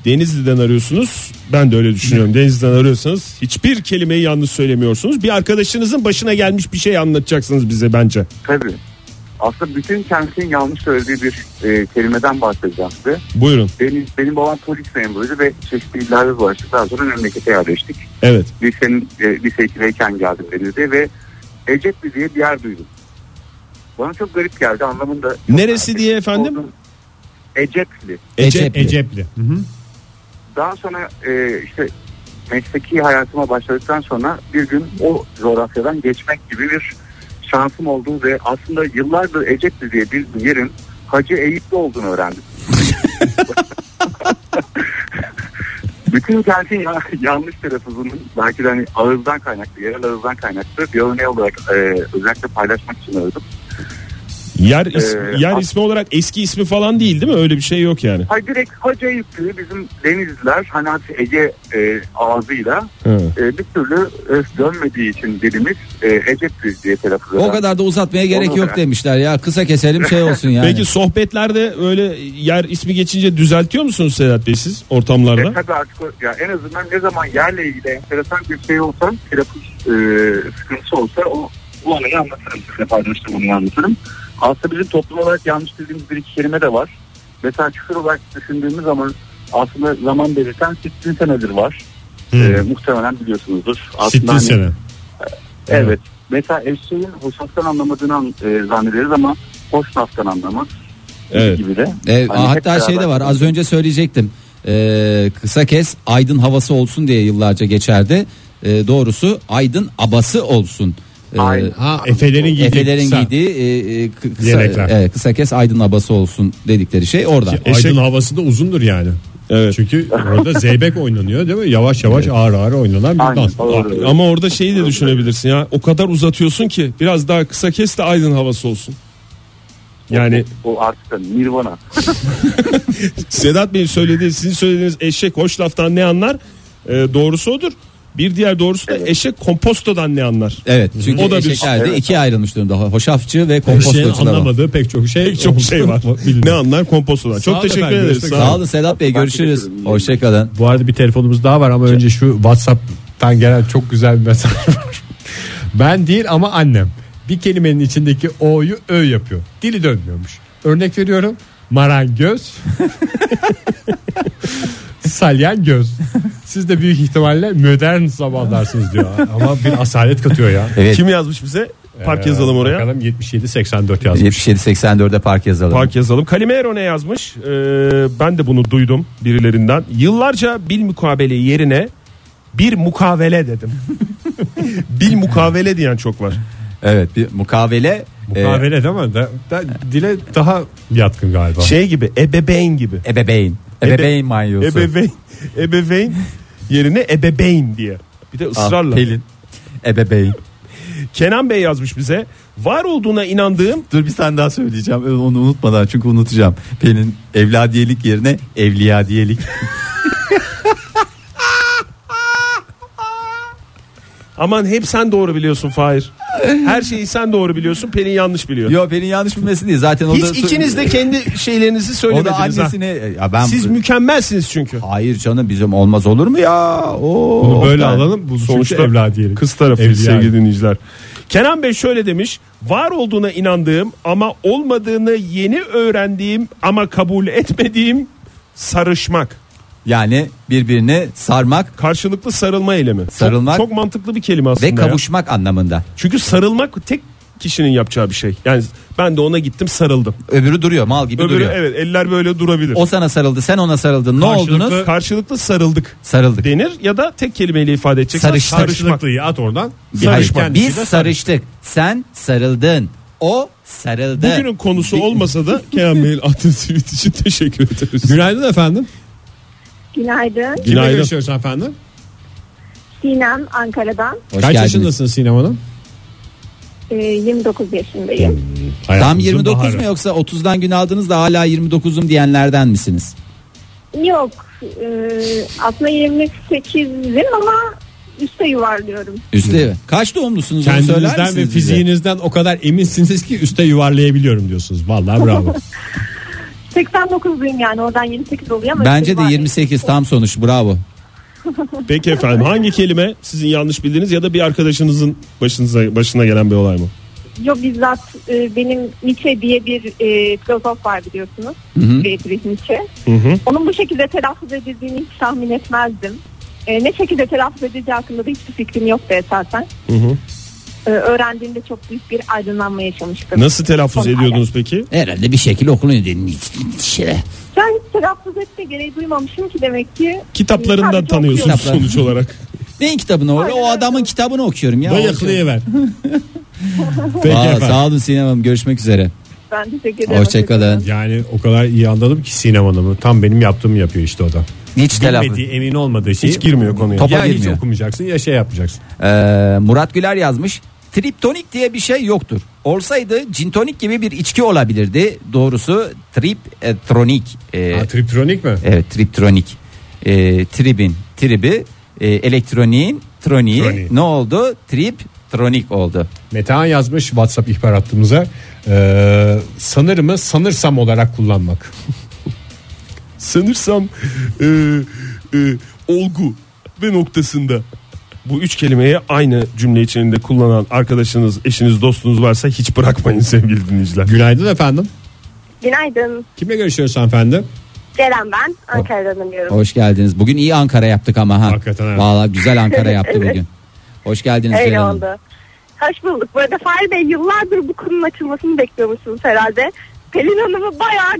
[SPEAKER 4] Denizli'den arıyorsunuz. Ben de öyle düşünüyorum. Denizli'den arıyorsanız hiçbir kelimeyi yanlış söylemiyorsunuz. Bir arkadaşınızın başına gelmiş bir şey anlatacaksınız bize bence.
[SPEAKER 6] Tabii. Aslında bütün kentin yanlış söylediği bir e, kelimeden bahsedeceğim size.
[SPEAKER 4] Buyurun.
[SPEAKER 6] Benim, benim babam polis memuruydu ve çeşitli illerde dolaştık. Daha sonra memlekete yerleştik.
[SPEAKER 4] Evet.
[SPEAKER 6] Lisenin, e, lise 2'deyken geldim Denizli'ye ve Ecekli diye bir yer duydum. Bana çok garip geldi anlamında. çok
[SPEAKER 4] Neresi
[SPEAKER 6] merak
[SPEAKER 4] diye
[SPEAKER 6] ettim.
[SPEAKER 4] efendim?
[SPEAKER 6] Sordum. Ecekli.
[SPEAKER 3] Ecep.
[SPEAKER 2] Ecepli. Hı hı.
[SPEAKER 6] Daha sonra e, işte mesleki hayatıma başladıktan sonra bir gün o coğrafyadan geçmek gibi bir şansım oldu ve aslında yıllardır Ecekli diye bir yerin Hacı Eyüp'te olduğunu öğrendim. Bütün kentin ya- yanlış telaffuzunun belki de hani ağızdan kaynaklı, yerel ağızdan kaynaklı bir örneği olarak e, özellikle paylaşmak için aradım.
[SPEAKER 4] Yer, ismi,
[SPEAKER 6] Ee,
[SPEAKER 4] yer
[SPEAKER 6] as-
[SPEAKER 4] ismi olarak eski ismi falan değil değil mi? Öyle bir şey yok yani.
[SPEAKER 6] Hayır direkt Hacı Eyüplü bizim denizliler Hanati Ege e, ağzıyla
[SPEAKER 4] Ha.
[SPEAKER 6] e, bir türlü e, dönmediği için dilimiz e, Ecekli diye telaffuz
[SPEAKER 3] O
[SPEAKER 6] eden.
[SPEAKER 3] kadar da uzatmaya gerek
[SPEAKER 6] Onu
[SPEAKER 3] yok
[SPEAKER 6] bırak.
[SPEAKER 3] demişler ya. Kısa keselim şey olsun yani.
[SPEAKER 4] Peki sohbetlerde öyle yer ismi geçince düzeltiyor musunuz Sedat Bey siz ortamlarda?
[SPEAKER 6] E, tabii artık o- ya en azından ne zaman yerle ilgili enteresan bir şey olsa, telaffuz e, sıkıntısı olsa o, o anayı anlatırım. Sizinle paylaştım onu anlatırım. Aslında bizim toplum olarak yanlış bildiğimiz bir iki kelime de var. Mesela küfür olarak düşündüğümüz zaman aslında zaman belirten sittin senedir var. E, muhtemelen biliyorsunuzdur. Aslında
[SPEAKER 4] Sittin
[SPEAKER 6] hani-
[SPEAKER 4] sene.
[SPEAKER 6] Evet. Mesela eşeğin hoşnaftan anlamadığını an- e, zannederiz ama hoşnaftan anlamaz
[SPEAKER 4] Evet.
[SPEAKER 6] gibi de.
[SPEAKER 3] Ee,
[SPEAKER 6] Hani hep
[SPEAKER 3] hatta şey de
[SPEAKER 6] beraber-
[SPEAKER 3] var az önce söyleyecektim. Ee, kısa kes aydın havası olsun diye yıllarca geçerdi. Ee, doğrusu aydın abası olsun. Ee,
[SPEAKER 6] Aynen.
[SPEAKER 2] Ha Efe'lerin giydiği
[SPEAKER 3] Efelerin
[SPEAKER 2] kısa.
[SPEAKER 3] giydiği e, e, kı- kısa,
[SPEAKER 2] Yelekler.
[SPEAKER 3] evet, kısa kes aydın abası olsun dedikleri şey oradan.
[SPEAKER 2] Aydın havası da uzundur yani.
[SPEAKER 4] Evet.
[SPEAKER 2] Çünkü
[SPEAKER 6] [laughs]
[SPEAKER 2] orada zeybek oynanıyor değil mi? Yavaş yavaş ağır ağır oynanan bir
[SPEAKER 6] Aynen,
[SPEAKER 2] dans.
[SPEAKER 6] doğru.
[SPEAKER 4] Ama orada şeyi de düşünebilirsin ya. O kadar uzatıyorsun ki biraz daha kısa kes de aydın havası olsun. Yani
[SPEAKER 6] O artık hani nirvana.
[SPEAKER 4] Sedat Bey'in söylediği, sizin söylediğiniz eşek hoş laftan ne anlar? Ee, doğrusu odur. Bir diğer doğrusu da eşek kompostodan ne anlar?
[SPEAKER 3] Evet çünkü
[SPEAKER 4] O
[SPEAKER 3] o
[SPEAKER 4] da
[SPEAKER 3] da şey.
[SPEAKER 4] bir-
[SPEAKER 6] Evet.
[SPEAKER 3] ikiye ayrılmış durumda. Hoşafçı ve
[SPEAKER 2] Eşeğin
[SPEAKER 3] kompostocular. var.
[SPEAKER 2] anlamadığı pek çok şey
[SPEAKER 4] Pek çok
[SPEAKER 2] [laughs]
[SPEAKER 4] şey var. ne anlar kompostodan.
[SPEAKER 2] Sağ
[SPEAKER 4] Çok
[SPEAKER 2] olun
[SPEAKER 4] teşekkür
[SPEAKER 2] efendim,
[SPEAKER 4] ederiz.
[SPEAKER 2] görüşmek
[SPEAKER 4] Sağ
[SPEAKER 2] üzere.
[SPEAKER 3] Sağ olun Sedat Bey görüşürüz.
[SPEAKER 6] teşekkür ederim.
[SPEAKER 3] Hoşçakalın.
[SPEAKER 2] Bu arada bir telefonumuz daha var ama önce şu WhatsApp'tan gelen çok güzel bir mesaj var. Ben değil ama annem. Bir kelimenin içindeki o'yu ö yapıyor. Dili dönmüyormuş. Örnek veriyorum. Marangoz. Salyan göz. Siz de büyük ihtimalle modern sabahlarsınız diyor. Ama bir asalet katıyor ya.
[SPEAKER 3] Evet.
[SPEAKER 4] Kim yazmış bize?
[SPEAKER 2] Ee,
[SPEAKER 4] Park yazalım oraya.
[SPEAKER 2] Bakalım 77-84 yazmış.
[SPEAKER 3] 77-84'e park yazalım.
[SPEAKER 4] Park yazalım. Kalimero ne yazmış? Ee, ben de bunu duydum birilerinden. Yıllarca bil mukabele yerine bir mukavele dedim. [laughs] bil mukavele diyen çok var.
[SPEAKER 3] Evet bir mukavele. E,
[SPEAKER 2] Mukavele değil mi? Da, da- dile daha yatkın galiba.
[SPEAKER 4] Şey gibi ebeveyn gibi.
[SPEAKER 3] ebeveyn. Ebeveyn manyosu.
[SPEAKER 4] Ebeveyn, ebeveyn yerine ebeveyn diye. Bir de
[SPEAKER 3] Ah,
[SPEAKER 4] ısrarla.
[SPEAKER 3] Pelin. Ebeveyn.
[SPEAKER 4] Kenan Bey yazmış bize. Var olduğuna inandığım
[SPEAKER 3] Dur bir tane daha söyleyeceğim onu unutmadan çünkü unutacağım. Pelin evladiyelik yerine evliyadiyelik.
[SPEAKER 4] aman hep sen doğru biliyorsun Fahir. Her şeyi sen doğru biliyorsun Pelin yanlış
[SPEAKER 3] [laughs]
[SPEAKER 4] biliyor.
[SPEAKER 3] Yo Pelin yanlış bilmesin diye zaten o da...
[SPEAKER 4] Hiç ikiniz de kendi şeylerinizi
[SPEAKER 3] O da
[SPEAKER 4] söylemediniz. ha.
[SPEAKER 3] annesine... Ya ben...
[SPEAKER 4] Siz mükemmelsiniz çünkü.
[SPEAKER 3] Hayır canım bizim olmaz olur mu ya? Oo,
[SPEAKER 2] Bunu böyle
[SPEAKER 3] Ben-
[SPEAKER 2] alalım. Bu sonuçta
[SPEAKER 4] Sonuçta
[SPEAKER 2] evla diyelim.
[SPEAKER 4] Kız tarafı
[SPEAKER 2] Evliya.
[SPEAKER 4] sevgili dinleyiciler. Kenan Bey şöyle demiş. Var olduğuna inandığım ama olmadığını yeni öğrendiğim ama kabul etmediğim sarışmak.
[SPEAKER 3] Yani birbirine sarmak
[SPEAKER 4] Karşılıklı sarılma eylemi. Çok-
[SPEAKER 3] Sarılmak-
[SPEAKER 4] Çok, mantıklı bir kelime aslında.
[SPEAKER 3] ve
[SPEAKER 4] ya.
[SPEAKER 3] kavuşmak anlamında.
[SPEAKER 4] Çünkü sarılmak tek kişinin yapacağı bir şey. Yani ben de ona gittim sarıldım.
[SPEAKER 3] Öbürü duruyor mal gibi
[SPEAKER 4] Öbürü
[SPEAKER 3] duruyor.
[SPEAKER 4] evet eller böyle durabilir.
[SPEAKER 3] O sana sarıldı sen ona sarıldın ne
[SPEAKER 2] Karşılıklı-
[SPEAKER 3] oldunuz?
[SPEAKER 4] Karşılıklı sarıldık
[SPEAKER 3] Sarıldık.
[SPEAKER 4] denir ya da tek kelimeyle ifade edeceksen
[SPEAKER 3] Sarıştık.
[SPEAKER 4] sarışmak.
[SPEAKER 2] Karşılıklıyı at oradan.
[SPEAKER 3] Bir- hayır,
[SPEAKER 2] Sarışmak.
[SPEAKER 3] Biz sarıştık. Sen sarıldın. O sarıldı.
[SPEAKER 4] Bugünün konusu olmasa da Kenan Bey'in attığı tweet için teşekkür ederiz.
[SPEAKER 2] Günaydın efendim.
[SPEAKER 1] Günaydın.
[SPEAKER 2] Kimle
[SPEAKER 4] Günaydın.
[SPEAKER 2] görüşüyoruz efendim?
[SPEAKER 1] Sinem Ankara'dan.
[SPEAKER 3] Hoş
[SPEAKER 2] Kaç
[SPEAKER 3] geldiniz.
[SPEAKER 2] yaşındasın Sinem Hanım?
[SPEAKER 1] Ee, 29 yaşındayım.
[SPEAKER 3] Tam
[SPEAKER 2] Hayatımızın
[SPEAKER 3] 29
[SPEAKER 2] baharı.
[SPEAKER 3] mu yoksa 30'dan gün aldınız da hala 29'um diyenlerden misiniz?
[SPEAKER 1] Yok. e, aslında 28'im ama üste yuvarlıyorum.
[SPEAKER 3] Üstü. Kaç doğumlusunuz onu söyler
[SPEAKER 2] Kendinizden
[SPEAKER 3] misiniz?
[SPEAKER 2] ve
[SPEAKER 3] bize?
[SPEAKER 2] fiziğinizden o kadar eminsiniz ki üste yuvarlayabiliyorum diyorsunuz. Vallahi bravo.
[SPEAKER 1] 89'luyum yani oradan 28 oluyor ama.
[SPEAKER 3] Bence
[SPEAKER 1] üste
[SPEAKER 3] de
[SPEAKER 1] yuvarlıyorum.
[SPEAKER 3] 28 tam sonuç bravo.
[SPEAKER 4] Peki efendim hangi kelime sizin yanlış bildiğiniz ya da bir arkadaşınızın başınıza başına gelen bir olay mı?
[SPEAKER 1] Yo bizzat e, benim Nietzsche diye bir e, filozof var biliyorsunuz. Friedrich Nietzsche. Onun bu şekilde telaffuz edildiğini hiç tahmin etmezdim. E, ne şekilde telaffuz edildiği hakkında da hiçbir fikrim yoktu esasen. e, öğrendiğimde çok büyük bir aydınlanma
[SPEAKER 4] [laughs]
[SPEAKER 1] yaşamıştım.
[SPEAKER 4] Nasıl telaffuz
[SPEAKER 1] Konularla.
[SPEAKER 4] ediyordunuz peki?
[SPEAKER 7] Herhalde bir şekilde okulun ödediğini şöyle.
[SPEAKER 1] Ben hiç telaffuz etme gereği duymamışım ki demek ki.
[SPEAKER 4] Kitaplarından
[SPEAKER 1] Sadece
[SPEAKER 4] tanıyorsunuz
[SPEAKER 7] okuyorum.
[SPEAKER 4] sonuç olarak.
[SPEAKER 7] Neyin kitabını orada?
[SPEAKER 1] Aynen
[SPEAKER 7] O
[SPEAKER 1] öyle.
[SPEAKER 7] adamın kitabını okuyorum
[SPEAKER 3] [laughs]
[SPEAKER 7] ya.
[SPEAKER 2] Bayıklayıver.
[SPEAKER 7] Aa,
[SPEAKER 2] Peki efendim.
[SPEAKER 7] sağ olun Sinem Hanım. Görüşmek üzere.
[SPEAKER 1] Ben teşekkür ederim.
[SPEAKER 7] Hoşçakalın.
[SPEAKER 2] Yani o kadar iyi anladım ki Sinem Hanım'ı. Tam benim yaptığımı yapıyor işte o da.
[SPEAKER 7] Hiç telaffuz.
[SPEAKER 2] Bilmediği emin olmadığı şeyi.
[SPEAKER 4] Hiç girmiyor konuya.
[SPEAKER 7] Topa
[SPEAKER 2] ya
[SPEAKER 7] girmiyor.
[SPEAKER 2] hiç okumayacaksın ya şey yapmayacaksın.
[SPEAKER 7] Ee, Murat Güler yazmış. Triptonik diye bir şey yoktur. Olsaydı cintonik gibi bir içki olabilirdi. Doğrusu triptronik.
[SPEAKER 3] E,
[SPEAKER 7] Ee,
[SPEAKER 2] Ha, triptronik mi?
[SPEAKER 7] evet triptronik. Ee, tribin tribi e, elektroniğin troniği
[SPEAKER 2] Troniği.
[SPEAKER 7] ne oldu? Triptronik oldu.
[SPEAKER 2] Metehan yazmış WhatsApp ihbar hattımıza. Ee, sanırımı sanırsam olarak kullanmak.
[SPEAKER 4] Sanırsam e, e, olgu ve noktasında bu üç kelimeyi aynı cümle içerisinde kullanan arkadaşınız, eşiniz, dostunuz varsa hiç bırakmayın sevgili dinleyiciler.
[SPEAKER 2] Günaydın efendim.
[SPEAKER 1] Günaydın.
[SPEAKER 2] Kimle görüşüyoruz hanımefendi?
[SPEAKER 1] Ceren ben. Ankara'dan arıyorum.
[SPEAKER 7] Hoş geldiniz. Bugün iyi Ankara yaptık ama ha.
[SPEAKER 2] Hakikaten evet.
[SPEAKER 7] Vallahi güzel Ankara yaptı bugün. Hoş geldiniz
[SPEAKER 1] Öyle
[SPEAKER 7] Ceren Hanım.
[SPEAKER 1] oldu. Hoş bulduk. Bu arada Fahri Bey yıllardır bu konunun açılmasını bekliyormuşsunuz herhalde. Pelin Hanım'ı bayağı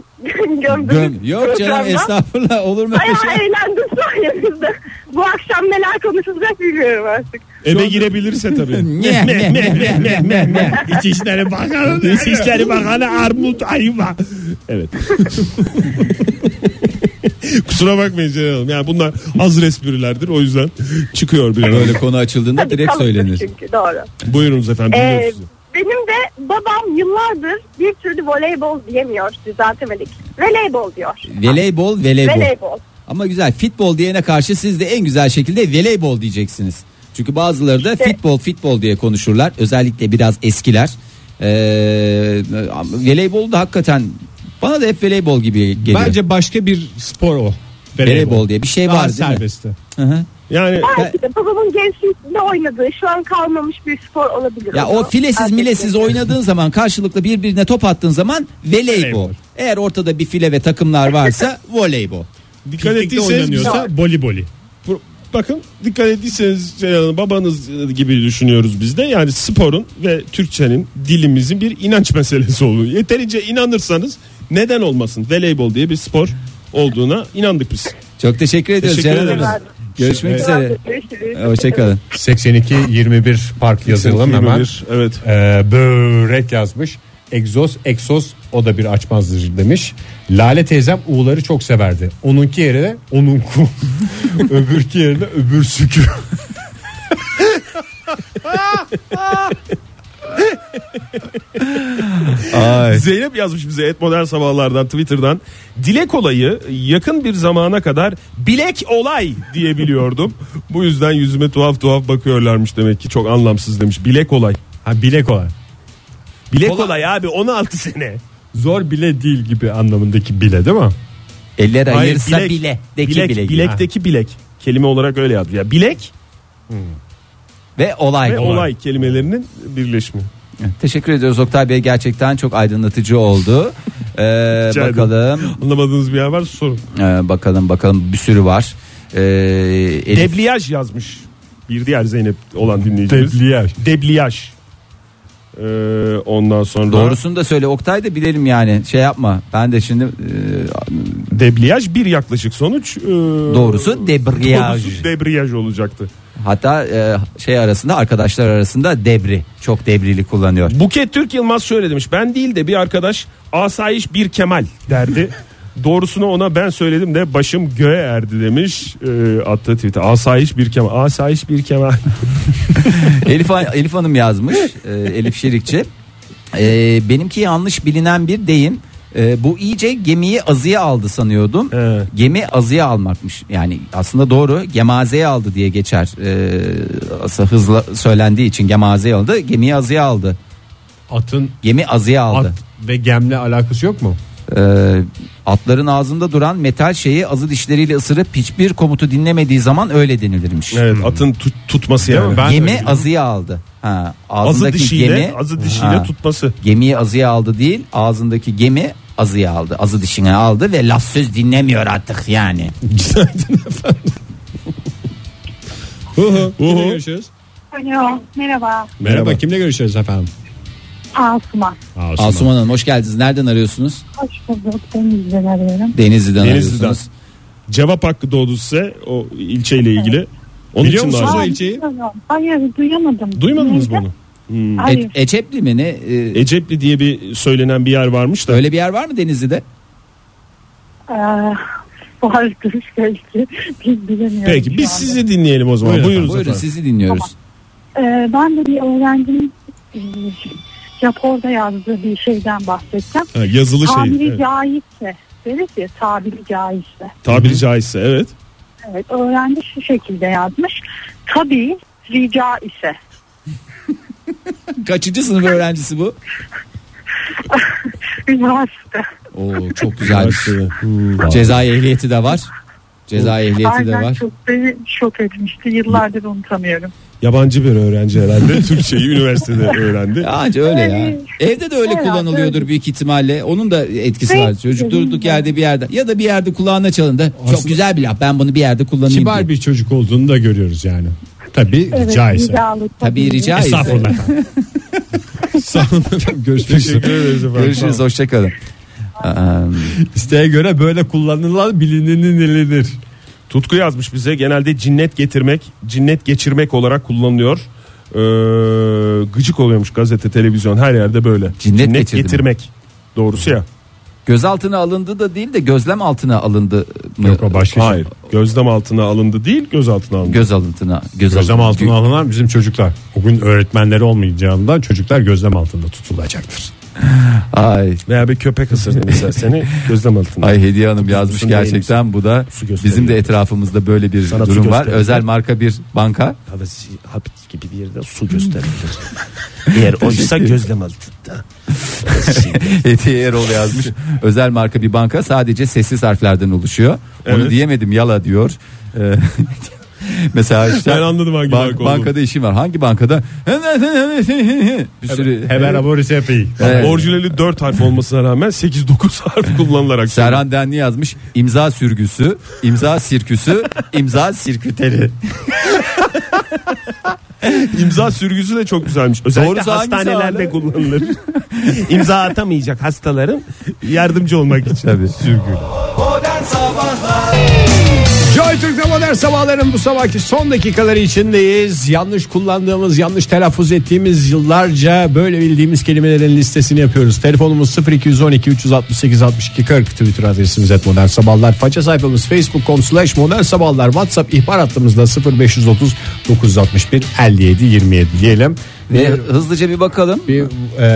[SPEAKER 1] [laughs] gömdünüz.
[SPEAKER 7] Gön- Yok canım
[SPEAKER 1] programda.
[SPEAKER 7] estağfurullah olur mu öyle
[SPEAKER 1] Bayağı
[SPEAKER 7] şey?
[SPEAKER 1] eğlendim sayenizde. Bu akşam neler konuşulacak bilmiyorum artık.
[SPEAKER 4] Eve girebilirse tabii.
[SPEAKER 7] Ne, ne, [laughs] ne, ne, ne, ne.
[SPEAKER 4] [laughs] İçişleri Bakanı, [laughs] İçişleri Bakanı Armut Ayva. [laughs] Evet. Kusura bakmayın Ceren Hanım. Yani bunlar az esprilerdir. O yüzden çıkıyor bir an
[SPEAKER 7] Böyle
[SPEAKER 4] önce.
[SPEAKER 7] konu açıldığında
[SPEAKER 1] Tabii
[SPEAKER 7] direkt
[SPEAKER 1] kalıptır
[SPEAKER 7] söylenir.
[SPEAKER 1] Çünkü doğru.
[SPEAKER 4] Buyurunuz efendim.
[SPEAKER 1] Ee,
[SPEAKER 4] dinliyoruz sizi.
[SPEAKER 1] benim de babam yıllardır bir türlü voleybol diyemiyor. Düzeltemedik. Voleybol diyor.
[SPEAKER 7] Voleybol, voleybol.
[SPEAKER 1] Voleybol.
[SPEAKER 7] Ama güzel futbol diyene karşı siz de en güzel şekilde voleybol diyeceksiniz. Çünkü bazıları da futbol futbol diye konuşurlar. Özellikle biraz eskiler. Ee, voleybol da hakikaten bana da hep voleybol gibi geliyor.
[SPEAKER 2] Bence başka bir spor o.
[SPEAKER 7] voleybol diye bir şey
[SPEAKER 2] Daha
[SPEAKER 7] var değil mi?
[SPEAKER 2] serbestti.
[SPEAKER 7] Hı hı.
[SPEAKER 4] Yani
[SPEAKER 1] Belki de babamın gençliğinde oynadığı şu an kalmamış bir spor olabilir.
[SPEAKER 7] Ya o filesiz
[SPEAKER 1] Erkekler.
[SPEAKER 7] milesiz oynadığın zaman karşılıklı birbirine top attığın zaman voleybol.
[SPEAKER 2] Voleybol.
[SPEAKER 7] Eğer ortada bir file ve takımlar varsa voleybol.
[SPEAKER 4] dikkat
[SPEAKER 2] Piknikte
[SPEAKER 4] ettiyseniz biz-
[SPEAKER 2] oynanıyorsa boli boli.
[SPEAKER 4] Bu- bakın dikkat ettiyseniz Ceren Hanım babanız e, gibi düşünüyoruz biz de. Yani sporun ve Türkçenin dilimizin bir inanç [laughs] meselesi oluyor. Yeterince inanırsanız neden olmasın? Voleybol diye bir spor olduğuna inandık biz.
[SPEAKER 7] Çok teşekkür ediyoruz
[SPEAKER 4] Teşekkür
[SPEAKER 7] Ceren Hanım.
[SPEAKER 1] ederim.
[SPEAKER 7] Görüşmek üzere.
[SPEAKER 1] Görüşürüz.
[SPEAKER 7] Ee, Hoşçakalın.
[SPEAKER 2] 82 21 park yazalım hemen.
[SPEAKER 4] 21, Evet.
[SPEAKER 2] Ee, börek yazmış. Egzoz, egzoz o da bir açmazdır demiş. Lale teyzem uğuları çok severdi. Onunki yerine
[SPEAKER 7] [laughs]
[SPEAKER 2] onunku. [laughs] Öbürki yerine öbür sükü.
[SPEAKER 4] Zeynep yazmış bize et modern sabahlardan Twitter'dan. Dilek olayı yakın bir zamana kadar bilek olay diye biliyordum. Bu yüzden yüzüme tuhaf tuhaf bakıyorlarmış demek ki çok anlamsız demiş. Bilek olay.
[SPEAKER 2] Ha bilek olan.
[SPEAKER 4] Bilek olay, abi 16 sene.
[SPEAKER 2] Zor bile değil gibi anlamındaki bile değil mi?
[SPEAKER 7] Eller
[SPEAKER 4] Hayır,
[SPEAKER 7] ayırsa
[SPEAKER 4] bilek,
[SPEAKER 7] bile. Deki
[SPEAKER 4] bilek,
[SPEAKER 7] bile. gibi.
[SPEAKER 4] bilekteki bilek. Kelime olarak öyle yazmış. Ya bilek
[SPEAKER 7] Ve olay.
[SPEAKER 4] ve olay kelimelerinin birleşimi.
[SPEAKER 7] Teşekkür ediyoruz Oktay Bey. Gerçekten çok
[SPEAKER 4] [laughs]
[SPEAKER 7] aydınlatıcı oldu. Ee,
[SPEAKER 4] Rica ederim.
[SPEAKER 7] bakalım.
[SPEAKER 4] Anlamadığınız bir yer var sorun.
[SPEAKER 7] Ee, bakalım bakalım bir sürü var. Ee, Elif-
[SPEAKER 4] Debliyaj yazmış. Bir diğer Zeynep olan dinleyicimiz.
[SPEAKER 2] Debliyaj.
[SPEAKER 4] Debliyaj. Ee, ondan sonra
[SPEAKER 7] Doğrusunu da söyle Oktay da bilelim yani şey yapma ben de şimdi e,
[SPEAKER 4] debliyaj bir yaklaşık sonuç. Ee,
[SPEAKER 7] Doğrusu debriyaj.
[SPEAKER 4] doğrusu debriyaj olacaktı.
[SPEAKER 7] Hatta e, şey arasında arkadaşlar arasında debri çok
[SPEAKER 4] [laughs]
[SPEAKER 7] debrili kullanıyor.
[SPEAKER 4] Buket Türk Yılmaz şöyle demiş. Ben değil de bir arkadaş asayiş bir Kemal
[SPEAKER 2] [laughs]
[SPEAKER 4] derdi. Doğrusunu ona ben söyledim de başım göğe erdi demiş. Ee, attığı tweet'e asayiş bir Kemal. Asayiş bir Kemal.
[SPEAKER 7] Elif, Elif Hanım yazmış e, Elif Şirikçi. E, benimki yanlış bilinen bir deyim. E, bu iyice gemiyi azıya aldı sanıyordum.
[SPEAKER 4] Evet.
[SPEAKER 7] Gemi azıya almakmış. Yani aslında doğru gemazeye aldı diye geçer. E, aslında hızla söylendiği için gemazeye aldı. Gemiyi azıya aldı.
[SPEAKER 2] Atın
[SPEAKER 7] Gemi azıya aldı.
[SPEAKER 2] at ve gemle alakası yok mu?
[SPEAKER 7] Ee, atların ağzında duran metal şeyi azı dişleriyle ısırıp hiçbir komutu dinlemediği zaman öyle denilirmiş.
[SPEAKER 4] Evet atın tu- tutması
[SPEAKER 2] Değil
[SPEAKER 4] yani.
[SPEAKER 2] mi? Ben
[SPEAKER 7] gemi
[SPEAKER 2] öyle-
[SPEAKER 7] azıya aldı. Ha,
[SPEAKER 4] azı
[SPEAKER 7] ağzındaki
[SPEAKER 4] dişiyle,
[SPEAKER 7] gemi
[SPEAKER 4] azı dişiyle
[SPEAKER 7] Ha.
[SPEAKER 4] tutması.
[SPEAKER 7] gemiyi azıya aldı değil, ağzındaki gemi azıya aldı. Azı dişine aldı ve laf söz dinlemiyor artık yani.
[SPEAKER 2] Günaydın efendim. Uhu.
[SPEAKER 4] Uhu.
[SPEAKER 2] Kimle görüşüyoruz?
[SPEAKER 1] Alo, merhaba.
[SPEAKER 2] Merhaba.
[SPEAKER 4] Merhaba.
[SPEAKER 2] kimle görüşüyoruz [laughs] efendim?
[SPEAKER 1] Asuman.
[SPEAKER 2] Asuman.
[SPEAKER 7] Asuman Hanım hoş geldiniz. Nereden arıyorsunuz?
[SPEAKER 1] Hoş bulduk. Denizden arıyorum.
[SPEAKER 7] Denizli'den,
[SPEAKER 4] Denizli'den.
[SPEAKER 7] arıyorsunuz.
[SPEAKER 4] Cevap hakkı doğdu size o ilçeyle ilgili. Onun
[SPEAKER 2] Biliyor
[SPEAKER 4] için
[SPEAKER 2] musunuz
[SPEAKER 4] var.
[SPEAKER 2] o ilçeyi?
[SPEAKER 1] Duyuyorum. Hayır, duyamadım.
[SPEAKER 4] Duymadınız mı
[SPEAKER 1] Neydi?
[SPEAKER 4] onu?
[SPEAKER 1] Hayır.
[SPEAKER 7] E- Eçepli mi ne? Ee,
[SPEAKER 4] Ecepli diye bir söylenen bir yer varmış da.
[SPEAKER 7] öyle bir yer var mı Denizli'de?
[SPEAKER 1] [laughs] Ee, vardır belki. Biz bilemiyoruz.
[SPEAKER 4] Peki biz
[SPEAKER 1] şu anda.
[SPEAKER 4] sizi dinleyelim o zaman.
[SPEAKER 2] Buyurun
[SPEAKER 4] Buyurun,
[SPEAKER 7] Buyurun
[SPEAKER 4] efendim.
[SPEAKER 7] sizi dinliyoruz.
[SPEAKER 1] Ee, ben de bir öğrencinin e, raporda yazdığı bir şeyden bahsedeceğim.
[SPEAKER 4] Ha, yazılı şey.
[SPEAKER 1] Tabiri
[SPEAKER 4] evet.
[SPEAKER 1] caizse. Deriz ya tabiri caizse.
[SPEAKER 4] Tabiri caizse evet.
[SPEAKER 1] Evet öğrenci şu şekilde yazmış. Tabii rica ise.
[SPEAKER 7] [laughs] Kaçıncı sınıf öğrencisi bu?
[SPEAKER 1] Üniversite.
[SPEAKER 7] Oo çok
[SPEAKER 4] [laughs]
[SPEAKER 7] güzel.
[SPEAKER 4] Üniversitede. Hmm.
[SPEAKER 7] Cezai ehliyeti de var. Cezai ehliyeti de
[SPEAKER 1] Aynen
[SPEAKER 7] var.
[SPEAKER 1] çok beni şok etmişti. Yıllardır unutamıyorum.
[SPEAKER 4] Yabancı bir öğrenci herhalde. [laughs] Türkçeyi üniversitede öğrendi.
[SPEAKER 7] Ya Anca öyle ya.
[SPEAKER 1] Evet.
[SPEAKER 7] Evde de öyle
[SPEAKER 1] Herhalde
[SPEAKER 7] kullanılıyordur
[SPEAKER 1] öyle.
[SPEAKER 7] büyük ihtimalle. Onun da etkisi
[SPEAKER 1] Evet.
[SPEAKER 7] var. Çocuk durduk yerde bir yerde ya da bir yerde kulağına çalındı. Çok
[SPEAKER 2] Aslında-
[SPEAKER 7] güzel bir laf. Ben bunu bir yerde kullanayım.
[SPEAKER 2] Kibar
[SPEAKER 7] diye.
[SPEAKER 2] bir çocuk olduğunu da görüyoruz yani. Tabii
[SPEAKER 1] Evet,
[SPEAKER 2] caizse.
[SPEAKER 1] ricalı
[SPEAKER 7] Tabii rica
[SPEAKER 2] Estağfurullah
[SPEAKER 7] ederim.
[SPEAKER 2] efendim. Sağ olun efendim. Görüşmek üzere.
[SPEAKER 4] Teşekkür ederiz efendim.
[SPEAKER 7] Görüşürüz hoşçakalın.
[SPEAKER 2] İsteğe göre böyle kullanılan bilineni nelenir.
[SPEAKER 4] Tutku yazmış bize genelde cinnet getirmek, cinnet geçirmek olarak kullanılıyor. Ee, gıcık oluyormuş gazete, televizyon her yerde böyle.
[SPEAKER 7] Cinnet getirdi mi?
[SPEAKER 4] getirmek. Doğrusu ya.
[SPEAKER 7] Gözaltına alındı da değil de gözlem altına alındı mı?
[SPEAKER 2] Yok o
[SPEAKER 7] şey.
[SPEAKER 2] başka
[SPEAKER 4] Ee,
[SPEAKER 2] şey.
[SPEAKER 4] Hayır. Gözlem altına alındı değil, gözaltına alındı.
[SPEAKER 7] Göz altına. Göz,
[SPEAKER 2] Gözlem altına alınan bizim çocuklar. Bugün öğretmenleri olmayacağından çocuklar gözlem altında tutulacaktır.
[SPEAKER 7] Ay.
[SPEAKER 4] Veya bir köpek ısırdı mesela seni gözlem altına.
[SPEAKER 7] Ay Hediye Hanım yazmış
[SPEAKER 4] Kutusunda
[SPEAKER 7] gerçekten bu da
[SPEAKER 4] Su gösteriyor.
[SPEAKER 7] bizim de etrafımızda böyle bir
[SPEAKER 4] Sana su
[SPEAKER 7] durum var.
[SPEAKER 4] gösteriyor.
[SPEAKER 7] Özel marka bir banka.
[SPEAKER 3] havası hapis gibi bir yerde su gösterilir. Eğer oysa gözlem altında.
[SPEAKER 7] [laughs] Hediye Erol yazmış. Özel marka bir banka sadece sessiz harflerden oluşuyor. Onu
[SPEAKER 4] Evet.
[SPEAKER 7] diyemedim yala diyor. Ee, [laughs] Mesela işte
[SPEAKER 4] Ben anladım hangi
[SPEAKER 7] bank-
[SPEAKER 4] banka olduğunu.
[SPEAKER 7] bankada işim var. Hangi bankada? bir sürü
[SPEAKER 2] Hemen abonesi yapayım.
[SPEAKER 7] Evet.
[SPEAKER 4] Orijinali 4 harf olmasına rağmen 8-9
[SPEAKER 7] [laughs]
[SPEAKER 4] harf kullanılarak.
[SPEAKER 7] Serhan Denli yazmış. İmza sürgüsü, imza sirküsü, imza sirküteri.
[SPEAKER 4] [laughs] İmza sürgüsü de çok güzelmiş.
[SPEAKER 7] Doğrusu
[SPEAKER 4] Özellikle
[SPEAKER 7] hangisi
[SPEAKER 4] hastanelerde
[SPEAKER 7] hala?
[SPEAKER 4] kullanılır.
[SPEAKER 3] İmza atamayacak hastaların
[SPEAKER 4] Yardımcı olmak için.
[SPEAKER 7] Tabii.
[SPEAKER 2] Joy Türk'te modern sabahların bu sabahki son dakikaları içindeyiz. Yanlış kullandığımız, yanlış telaffuz ettiğimiz yıllarca böyle bildiğimiz kelimelerin listesini yapıyoruz. Telefonumuz 0212 368 62 40 Twitter adresimiz et modern sabahlar. Faça sayfamız facebook.com slash modern sabahlar. Whatsapp ihbar hattımızda 0530 961 57 27 diyelim.
[SPEAKER 7] Ve
[SPEAKER 2] Ee,
[SPEAKER 7] hızlıca bir bakalım.
[SPEAKER 2] Bir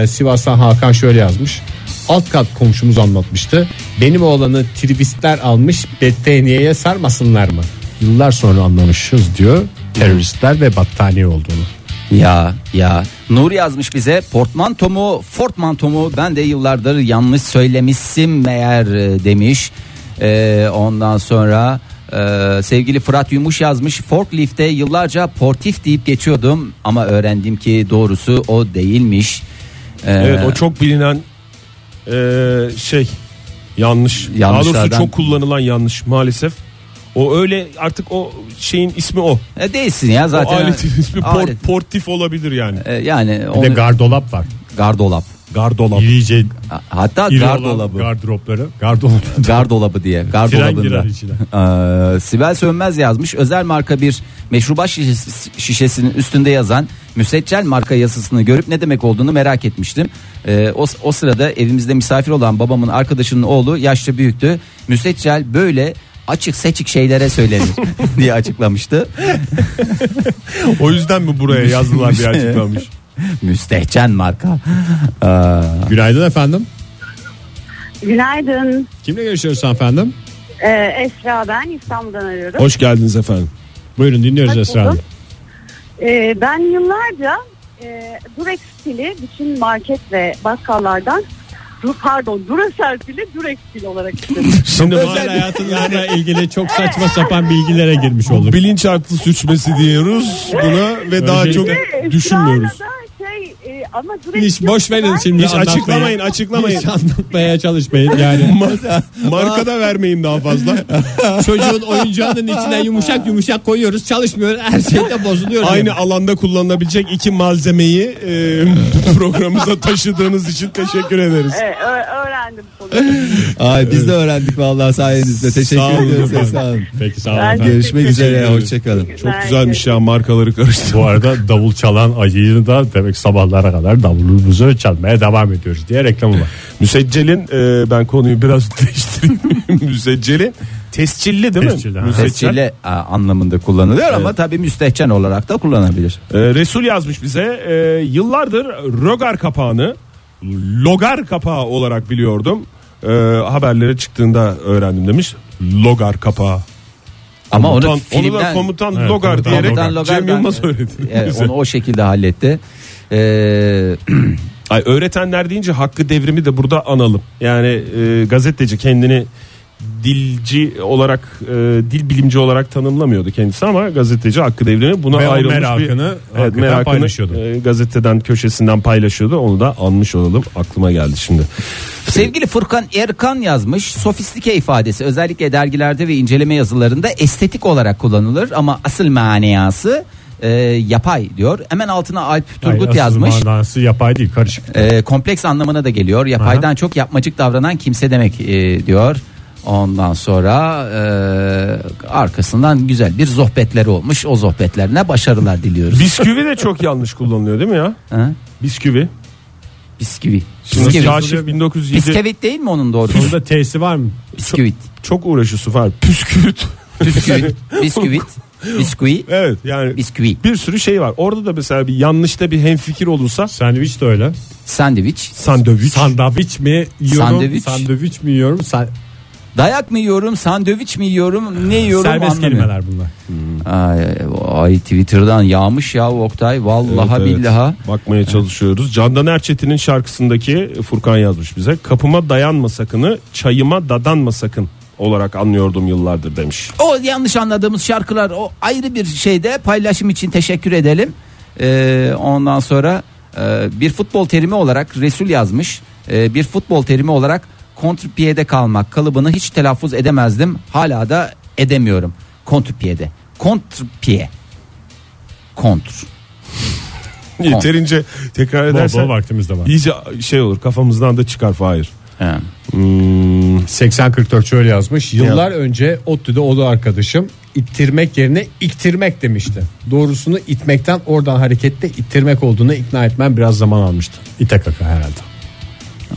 [SPEAKER 2] e, Sivas'tan Hakan şöyle yazmış. Alt kat komşumuz anlatmıştı. Benim oğlanı tribistler almış battaniyeye sarmasınlar mı? Yıllar sonra anlamışız diyor. Teröristler ve battaniye olduğunu.
[SPEAKER 7] Ya ya Nur yazmış bize portmanto mu fortmanto mu ben de yıllardır yanlış söylemişsin meğer e, demiş. E, ondan sonra e, sevgili Fırat Yumuş yazmış forklift'te yıllarca portif deyip geçiyordum ama öğrendim ki doğrusu o değilmiş. E,
[SPEAKER 4] Evet o çok bilinen eee, şey yanlış. Daha doğrusu
[SPEAKER 7] Yanlışlardan-
[SPEAKER 4] çok kullanılan yanlış maalesef. O öyle artık o şeyin ismi o.
[SPEAKER 7] E, değilsin ya zaten.
[SPEAKER 4] o aletin ismi por-
[SPEAKER 7] Alet.
[SPEAKER 4] portif olabilir yani.
[SPEAKER 7] E, yani
[SPEAKER 2] Bir de
[SPEAKER 7] onu,
[SPEAKER 2] gardolap var.
[SPEAKER 7] gardolap.
[SPEAKER 4] Gardolap.
[SPEAKER 2] İyice
[SPEAKER 7] Hatta
[SPEAKER 2] iri olan
[SPEAKER 7] gardolabı.
[SPEAKER 2] Gardıropları. Gardolap.
[SPEAKER 7] Gardolabı diye.
[SPEAKER 2] Tren girer
[SPEAKER 7] Gardolabında.
[SPEAKER 2] içine.
[SPEAKER 7] Ee, Sibel Sönmez yazmış. Özel marka bir meşrubat şişesi- şişesinin üstünde yazan müseccel marka yazısını görüp ne demek olduğunu merak etmiştim. Ee, o, o sırada evimizde misafir olan babamın arkadaşının oğlu yaşça büyüktü. Müseccel böyle açık seçik şeylere söylenir [laughs] diye açıklamıştı.
[SPEAKER 4] O yüzden mi buraya yazdılar diye açıklamış.
[SPEAKER 7] Müstehcen marka. Ee,
[SPEAKER 2] [laughs] Günaydın efendim.
[SPEAKER 1] Günaydın.
[SPEAKER 2] Kimle görüşüyoruz efendim?
[SPEAKER 1] Ee, Esra ben İstanbul'dan arıyorum.
[SPEAKER 4] Hoş geldiniz efendim.
[SPEAKER 2] Buyurun dinliyoruz
[SPEAKER 1] Hoş
[SPEAKER 2] Esra Hanım.
[SPEAKER 1] bulduk. Ee, ben yıllarca e, Durex pili bütün market ve bakkallardan Dur- pardon Duracell pili Durex pili olarak istedim.
[SPEAKER 7] [laughs]
[SPEAKER 4] Şimdi
[SPEAKER 2] Özel hayatınızla ilgili çok saçma sapan bilgilere girmiş olduk.
[SPEAKER 4] bilinçaltı suçması diyoruz buna ve daha çok
[SPEAKER 2] Öncelikle-
[SPEAKER 1] Esra'yla
[SPEAKER 4] düşünmüyoruz.
[SPEAKER 1] da şey e, Ama direkt
[SPEAKER 2] Hiç boş verin şimdi
[SPEAKER 4] Hiç
[SPEAKER 2] anlatmayı.
[SPEAKER 4] açıklamayın açıklamayın.
[SPEAKER 2] Hiç anlatmaya çalışmayın yani.
[SPEAKER 4] Marka da vermeyin daha
[SPEAKER 2] [laughs]
[SPEAKER 4] fazla.
[SPEAKER 2] Çocuğun oyuncağının içine yumuşak yumuşak koyuyoruz çalışmıyor her şeyde bozuluyor.
[SPEAKER 4] Aynı alanda kullanılabilecek iki malzemeyi e, [laughs] programımıza taşıdığınız için teşekkür ederiz.
[SPEAKER 1] Evet, e, ö- öğrendim konuyu.
[SPEAKER 7] Ay biz de öğrendik vallahi sayenizde.
[SPEAKER 4] Sağ
[SPEAKER 7] Teşekkür
[SPEAKER 4] olun
[SPEAKER 7] ediyoruz.
[SPEAKER 4] efendim.
[SPEAKER 7] Sağ olun.
[SPEAKER 2] Peki sağ olun.
[SPEAKER 1] Ben
[SPEAKER 2] efendim.
[SPEAKER 7] Görüşmek
[SPEAKER 1] Teşekkür
[SPEAKER 7] üzere.
[SPEAKER 4] ederim.
[SPEAKER 7] Hoşçakalın.
[SPEAKER 4] Çok güzelmiş ya markaları karıştı.
[SPEAKER 2] Bu arada davul çalan ayıyı da demek sabahlara kadar davulumuzu çalmaya devam ediyoruz diye reklamı var.
[SPEAKER 4] Müseccelin e, ben konuyu biraz [laughs] değiştireyim. Müseccelin tescilli değil mi?
[SPEAKER 2] Tescilli, ha.
[SPEAKER 4] Müseccel.
[SPEAKER 7] Tescille a, e, anlamında kullanılıyor ama tabii müstehcen olarak da kullanabilir.
[SPEAKER 4] E, Resul yazmış bize e, yıllardır rogar kapağını logar kapağı olarak biliyordum. E, haberlere çıktığında öğrendim demiş. Logar kapağı.
[SPEAKER 7] Ama
[SPEAKER 4] Komutan- da
[SPEAKER 7] onu filmden
[SPEAKER 4] komutan
[SPEAKER 2] Evet,
[SPEAKER 4] logar
[SPEAKER 2] komutan
[SPEAKER 4] diyerek
[SPEAKER 7] Komutan Logar'dan-
[SPEAKER 4] Cem Yılmaz öğretti.
[SPEAKER 7] e,
[SPEAKER 4] bize.
[SPEAKER 7] onu o şekilde halletti. Ee,
[SPEAKER 4] Ay, öğretenler deyince hakkı devrimi de burada analım. Yani e, gazeteci kendini dilci olarak e, dil bilimci olarak tanımlamıyordu kendisi ama gazeteci hakkı devrimi buna
[SPEAKER 2] Ve o
[SPEAKER 4] ayrılmış
[SPEAKER 2] merakını
[SPEAKER 4] bir
[SPEAKER 2] hakikaten paylaşıyordu.
[SPEAKER 4] e, gazeteden köşesinden paylaşıyordu onu da anmış olalım aklıma geldi şimdi
[SPEAKER 7] sevgili Furkan Erkan yazmış. Sofistike ifadesi özellikle dergilerde ve inceleme yazılarında estetik olarak kullanılır ama asıl manası e, yapay diyor. Hemen altına Alp Turgut yazmış.
[SPEAKER 2] Manası yapay değil [laughs] karışık.
[SPEAKER 7] E, kompleks anlamına da geliyor. Yapaydan çok yapmacık davranan kimse demek e, diyor. Ondan sonra e, arkasından güzel bir sohbetleri olmuş. O sohbetlerine başarılar diliyoruz.
[SPEAKER 4] bisküvi de çok yanlış kullanılıyor değil mi ya
[SPEAKER 7] Ha?
[SPEAKER 4] bisküvi
[SPEAKER 7] Bisküvi.
[SPEAKER 4] Şimdi
[SPEAKER 7] Bisküvi.
[SPEAKER 4] Kaşif 1907
[SPEAKER 7] Bisküvit değil mi onun doğrusu?
[SPEAKER 2] Bunda T'si var mı?
[SPEAKER 7] Bisküvit.
[SPEAKER 4] çok uğraşısı var püsküvit
[SPEAKER 7] Bisküvit. Bisküvit. Bisküvi.
[SPEAKER 4] [laughs] evet yani
[SPEAKER 7] Bisküvi.
[SPEAKER 4] bir sürü şey var orada da mesela bir yanlışta bir hemfikir olursa
[SPEAKER 2] Sandviç de öyle.
[SPEAKER 7] Sandviç.
[SPEAKER 4] sandviç
[SPEAKER 2] Sandviç mi yiyorum?
[SPEAKER 7] Sandviç.
[SPEAKER 2] Sandviç, mi yiyorum? Sa-
[SPEAKER 7] Dayak mı yiyorum? Sandviç mi yiyorum? Ne yiyorum?
[SPEAKER 2] serbest
[SPEAKER 7] anlamıyorum.
[SPEAKER 2] kelimeler bunlar.
[SPEAKER 7] Ay, ay, Twitter'dan yağmış ya Oktay. Vallaha
[SPEAKER 4] Evet, evet.
[SPEAKER 7] billaha.
[SPEAKER 4] Bakmaya çalışıyoruz. Candan Erçetin'in şarkısındaki Furkan yazmış bize. Kapıma dayanma sakını, çayıma dadanma sakın olarak anlıyordum yıllardır demiş.
[SPEAKER 7] O yanlış anladığımız şarkılar o ayrı bir şeyde paylaşım için teşekkür edelim. Ee, ondan sonra e, bir futbol terimi olarak Resul yazmış. Ee, bir futbol terimi olarak kontrpiyede kalmak kalıbını hiç telaffuz edemezdim. Hala da edemiyorum. Kontrpiyede. Kontrpiye. Kontr.
[SPEAKER 4] [laughs] Yeterince tekrar
[SPEAKER 2] Bol bol
[SPEAKER 4] edersen
[SPEAKER 2] vaktimiz de var.
[SPEAKER 4] iyice şey olur kafamızdan da çıkar Fahir.
[SPEAKER 7] He.
[SPEAKER 2] 8044 şöyle yazmış. Yıllar önce ODTÜ'de oda arkadaşım ittirmek yerine iktirmek demişti. Doğrusunu itmekten oradan hareketle ittirmek olduğunu ikna etmem biraz zaman almıştı. İte kaka herhalde.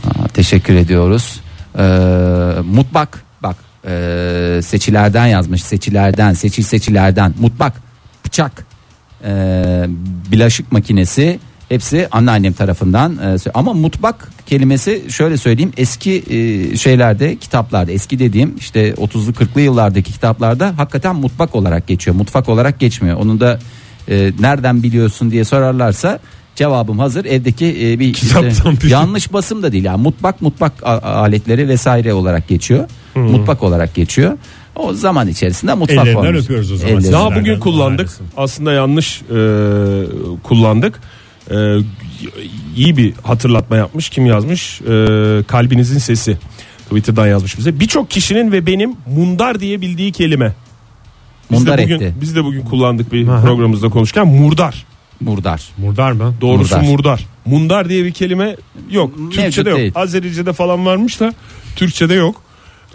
[SPEAKER 7] Aa, Teşekkür ediyoruz. Ee, mutbak bak ee, seçilerden yazmış seçilerden seçil seçilerden mutbak bıçak ee, bilaşık makinesi hepsi anneannem tarafından ee, sö- ama mutbak kelimesi şöyle söyleyeyim eski ee, şeylerde kitaplarda eski dediğim işte 30'lu 40'lı yıllardaki kitaplarda hakikaten mutbak olarak geçiyor mutfak olarak geçmiyor onun da ee, nereden biliyorsun diye sorarlarsa cevabım hazır evdeki ee, bir
[SPEAKER 2] Kitaptan bir-
[SPEAKER 7] Yanlış basım da değil yani mutfak mutfak a- aletleri vesaire olarak geçiyor.
[SPEAKER 2] Hmm.
[SPEAKER 7] Mutfak olarak geçiyor. O zaman içerisinde mutfak
[SPEAKER 2] Ellerinden
[SPEAKER 7] olmuş.
[SPEAKER 2] öpüyoruz o zaman.
[SPEAKER 7] Ellerinden.
[SPEAKER 4] Daha
[SPEAKER 2] Sizlerden
[SPEAKER 4] bugün kullandık.
[SPEAKER 2] maalesef.
[SPEAKER 4] Aslında yanlış e, kullandık. E, iyi bir hatırlatma yapmış. Kim yazmış? E, kalbinizin sesi. Twitter'dan yazmış bize. Birçok kişinin ve benim mundar diye bildiği kelime. Biz
[SPEAKER 7] Mundar
[SPEAKER 4] de bugün,
[SPEAKER 7] etti.
[SPEAKER 4] Biz de bugün kullandık bir programımızda konuşurken murdar.
[SPEAKER 7] Murdar.
[SPEAKER 2] Murdar mı?
[SPEAKER 4] Doğrusu
[SPEAKER 7] Murdar.
[SPEAKER 4] murdar. Mundar diye bir kelime yok.
[SPEAKER 7] Mevcut
[SPEAKER 4] Türkçe'de yok.
[SPEAKER 7] değil.
[SPEAKER 4] Azerice'de falan varmış da Türkçe'de yok.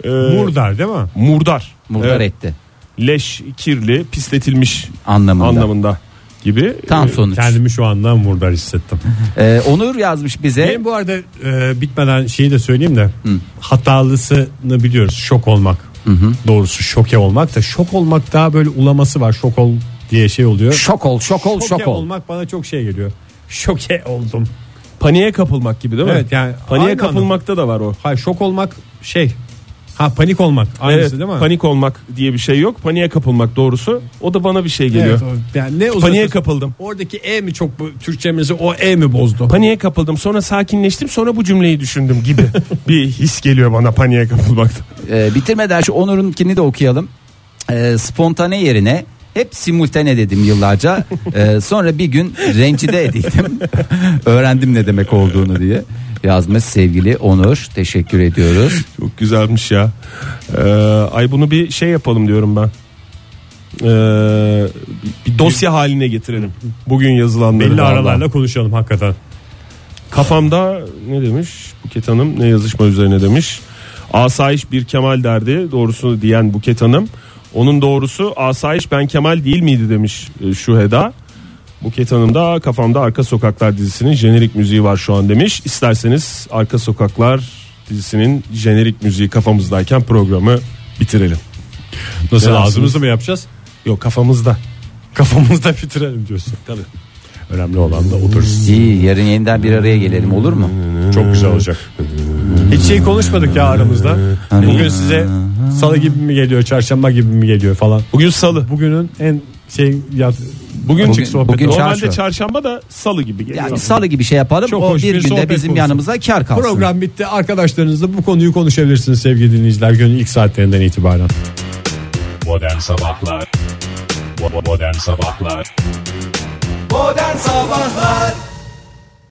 [SPEAKER 4] Ee,
[SPEAKER 2] Murdar değil mi?
[SPEAKER 4] murdar.
[SPEAKER 7] Murdar
[SPEAKER 4] Evet.
[SPEAKER 7] etti
[SPEAKER 4] Leş, kirli, pisletilmiş
[SPEAKER 7] anlamında.
[SPEAKER 4] anlamında gibi.
[SPEAKER 7] Tam
[SPEAKER 4] Ee,
[SPEAKER 7] sonuç.
[SPEAKER 2] Kendimi şu anda murdar hissettim.
[SPEAKER 7] Ee, Onur yazmış bize.
[SPEAKER 2] Benim bu arada e, bitmeden şeyi de söyleyeyim de hatalısını biliyoruz şok olmak. Doğrusu şoke olmak da şok olmak daha böyle ulaması var şok ol diye şey oluyor.
[SPEAKER 7] Şok ol, şok ol,
[SPEAKER 2] Şoke
[SPEAKER 7] şok ol.
[SPEAKER 2] olmak bana çok şey geliyor. Şoke oldum.
[SPEAKER 4] Paniğe kapılmak gibi değil mi?
[SPEAKER 2] Evet, yani
[SPEAKER 4] Paniğe
[SPEAKER 2] aynı
[SPEAKER 4] kapılmakta da var o.
[SPEAKER 2] Hayır şok olmak şey. Ha panik olmak aynısı
[SPEAKER 4] Evet,
[SPEAKER 2] değil mi?
[SPEAKER 4] panik olmak diye bir şey yok. Paniğe kapılmak doğrusu. O da bana bir şey geliyor.
[SPEAKER 2] Evet, o- yani ne
[SPEAKER 4] Paniğe
[SPEAKER 2] uzatır-
[SPEAKER 4] kapıldım.
[SPEAKER 2] Oradaki E mi çok bu- Türkçemizi o E mi bozdu?
[SPEAKER 4] Paniğe kapıldım sonra sakinleştim sonra bu cümleyi düşündüm
[SPEAKER 2] [laughs]
[SPEAKER 4] gibi bir his geliyor bana paniğe kapılmakta.
[SPEAKER 7] e, Ee, bitirmeden şu Onur'unkini de okuyalım. Ee, spontane yerine Hep simultane
[SPEAKER 2] [laughs]
[SPEAKER 7] dedim yıllarca. Ee, sonra bir gün rencide edildim. [laughs] Öğrendim ne demek olduğunu diye. Yazmış sevgili Onur. Teşekkür ediyoruz.
[SPEAKER 4] Çok güzelmiş ya. Ee, ay bunu bir şey yapalım diyorum ben. Ee, bir dosya haline getirelim. Bugün yazılanları.
[SPEAKER 2] Belli
[SPEAKER 4] Vallahi.
[SPEAKER 2] aralarla konuşalım hakikaten.
[SPEAKER 4] Kafamda ne demiş Buket Hanım ne yazışma üzerine demiş. Asayiş bir Kemal derdi doğrusunu diyen Buket Hanım. Onun doğrusu asayiş ben Kemal değil miydi demiş e, şu Heda. Buket Hanım da kafamda Arka Sokaklar dizisinin jenerik müziği var şu an demiş. İsterseniz Arka Sokaklar dizisinin jenerik müziği kafamızdayken programı bitirelim.
[SPEAKER 2] Nasıl
[SPEAKER 4] Biraz-
[SPEAKER 2] ağzımızı mı yapacağız?
[SPEAKER 4] Yok kafamızda.
[SPEAKER 2] Kafamızda bitirelim diyorsun. Tabii. Önemli olan da odur.
[SPEAKER 7] İyi yarın yeniden bir araya gelelim olur mu?
[SPEAKER 2] Çok güzel olacak. Hiç şey konuşmadık ya aramızda. Bugün size salı gibi mi geliyor, çarşamba gibi mi geliyor falan.
[SPEAKER 4] Bugün salı.
[SPEAKER 2] Bugünün en şey ya,
[SPEAKER 4] Bugün,
[SPEAKER 7] Bugün-
[SPEAKER 4] sohbet.
[SPEAKER 7] bugün
[SPEAKER 4] Normalde
[SPEAKER 7] çarşamba.
[SPEAKER 4] çarşamba da salı gibi geliyor.
[SPEAKER 7] Yani salı gibi şey yapalım.
[SPEAKER 2] Çok
[SPEAKER 7] o
[SPEAKER 2] hoş
[SPEAKER 7] bir,
[SPEAKER 2] bir sohbet
[SPEAKER 7] günde bizim
[SPEAKER 2] konusu.
[SPEAKER 7] yanımıza kar kalsın.
[SPEAKER 2] program bitti. Arkadaşlarınızla bu konuyu konuşabilirsiniz sevgili dinleyiciler günün ilk saatlerinden itibaren.
[SPEAKER 8] Modern Sabahlar Bo- Modern Sabahlar
[SPEAKER 9] Modern Sabahlar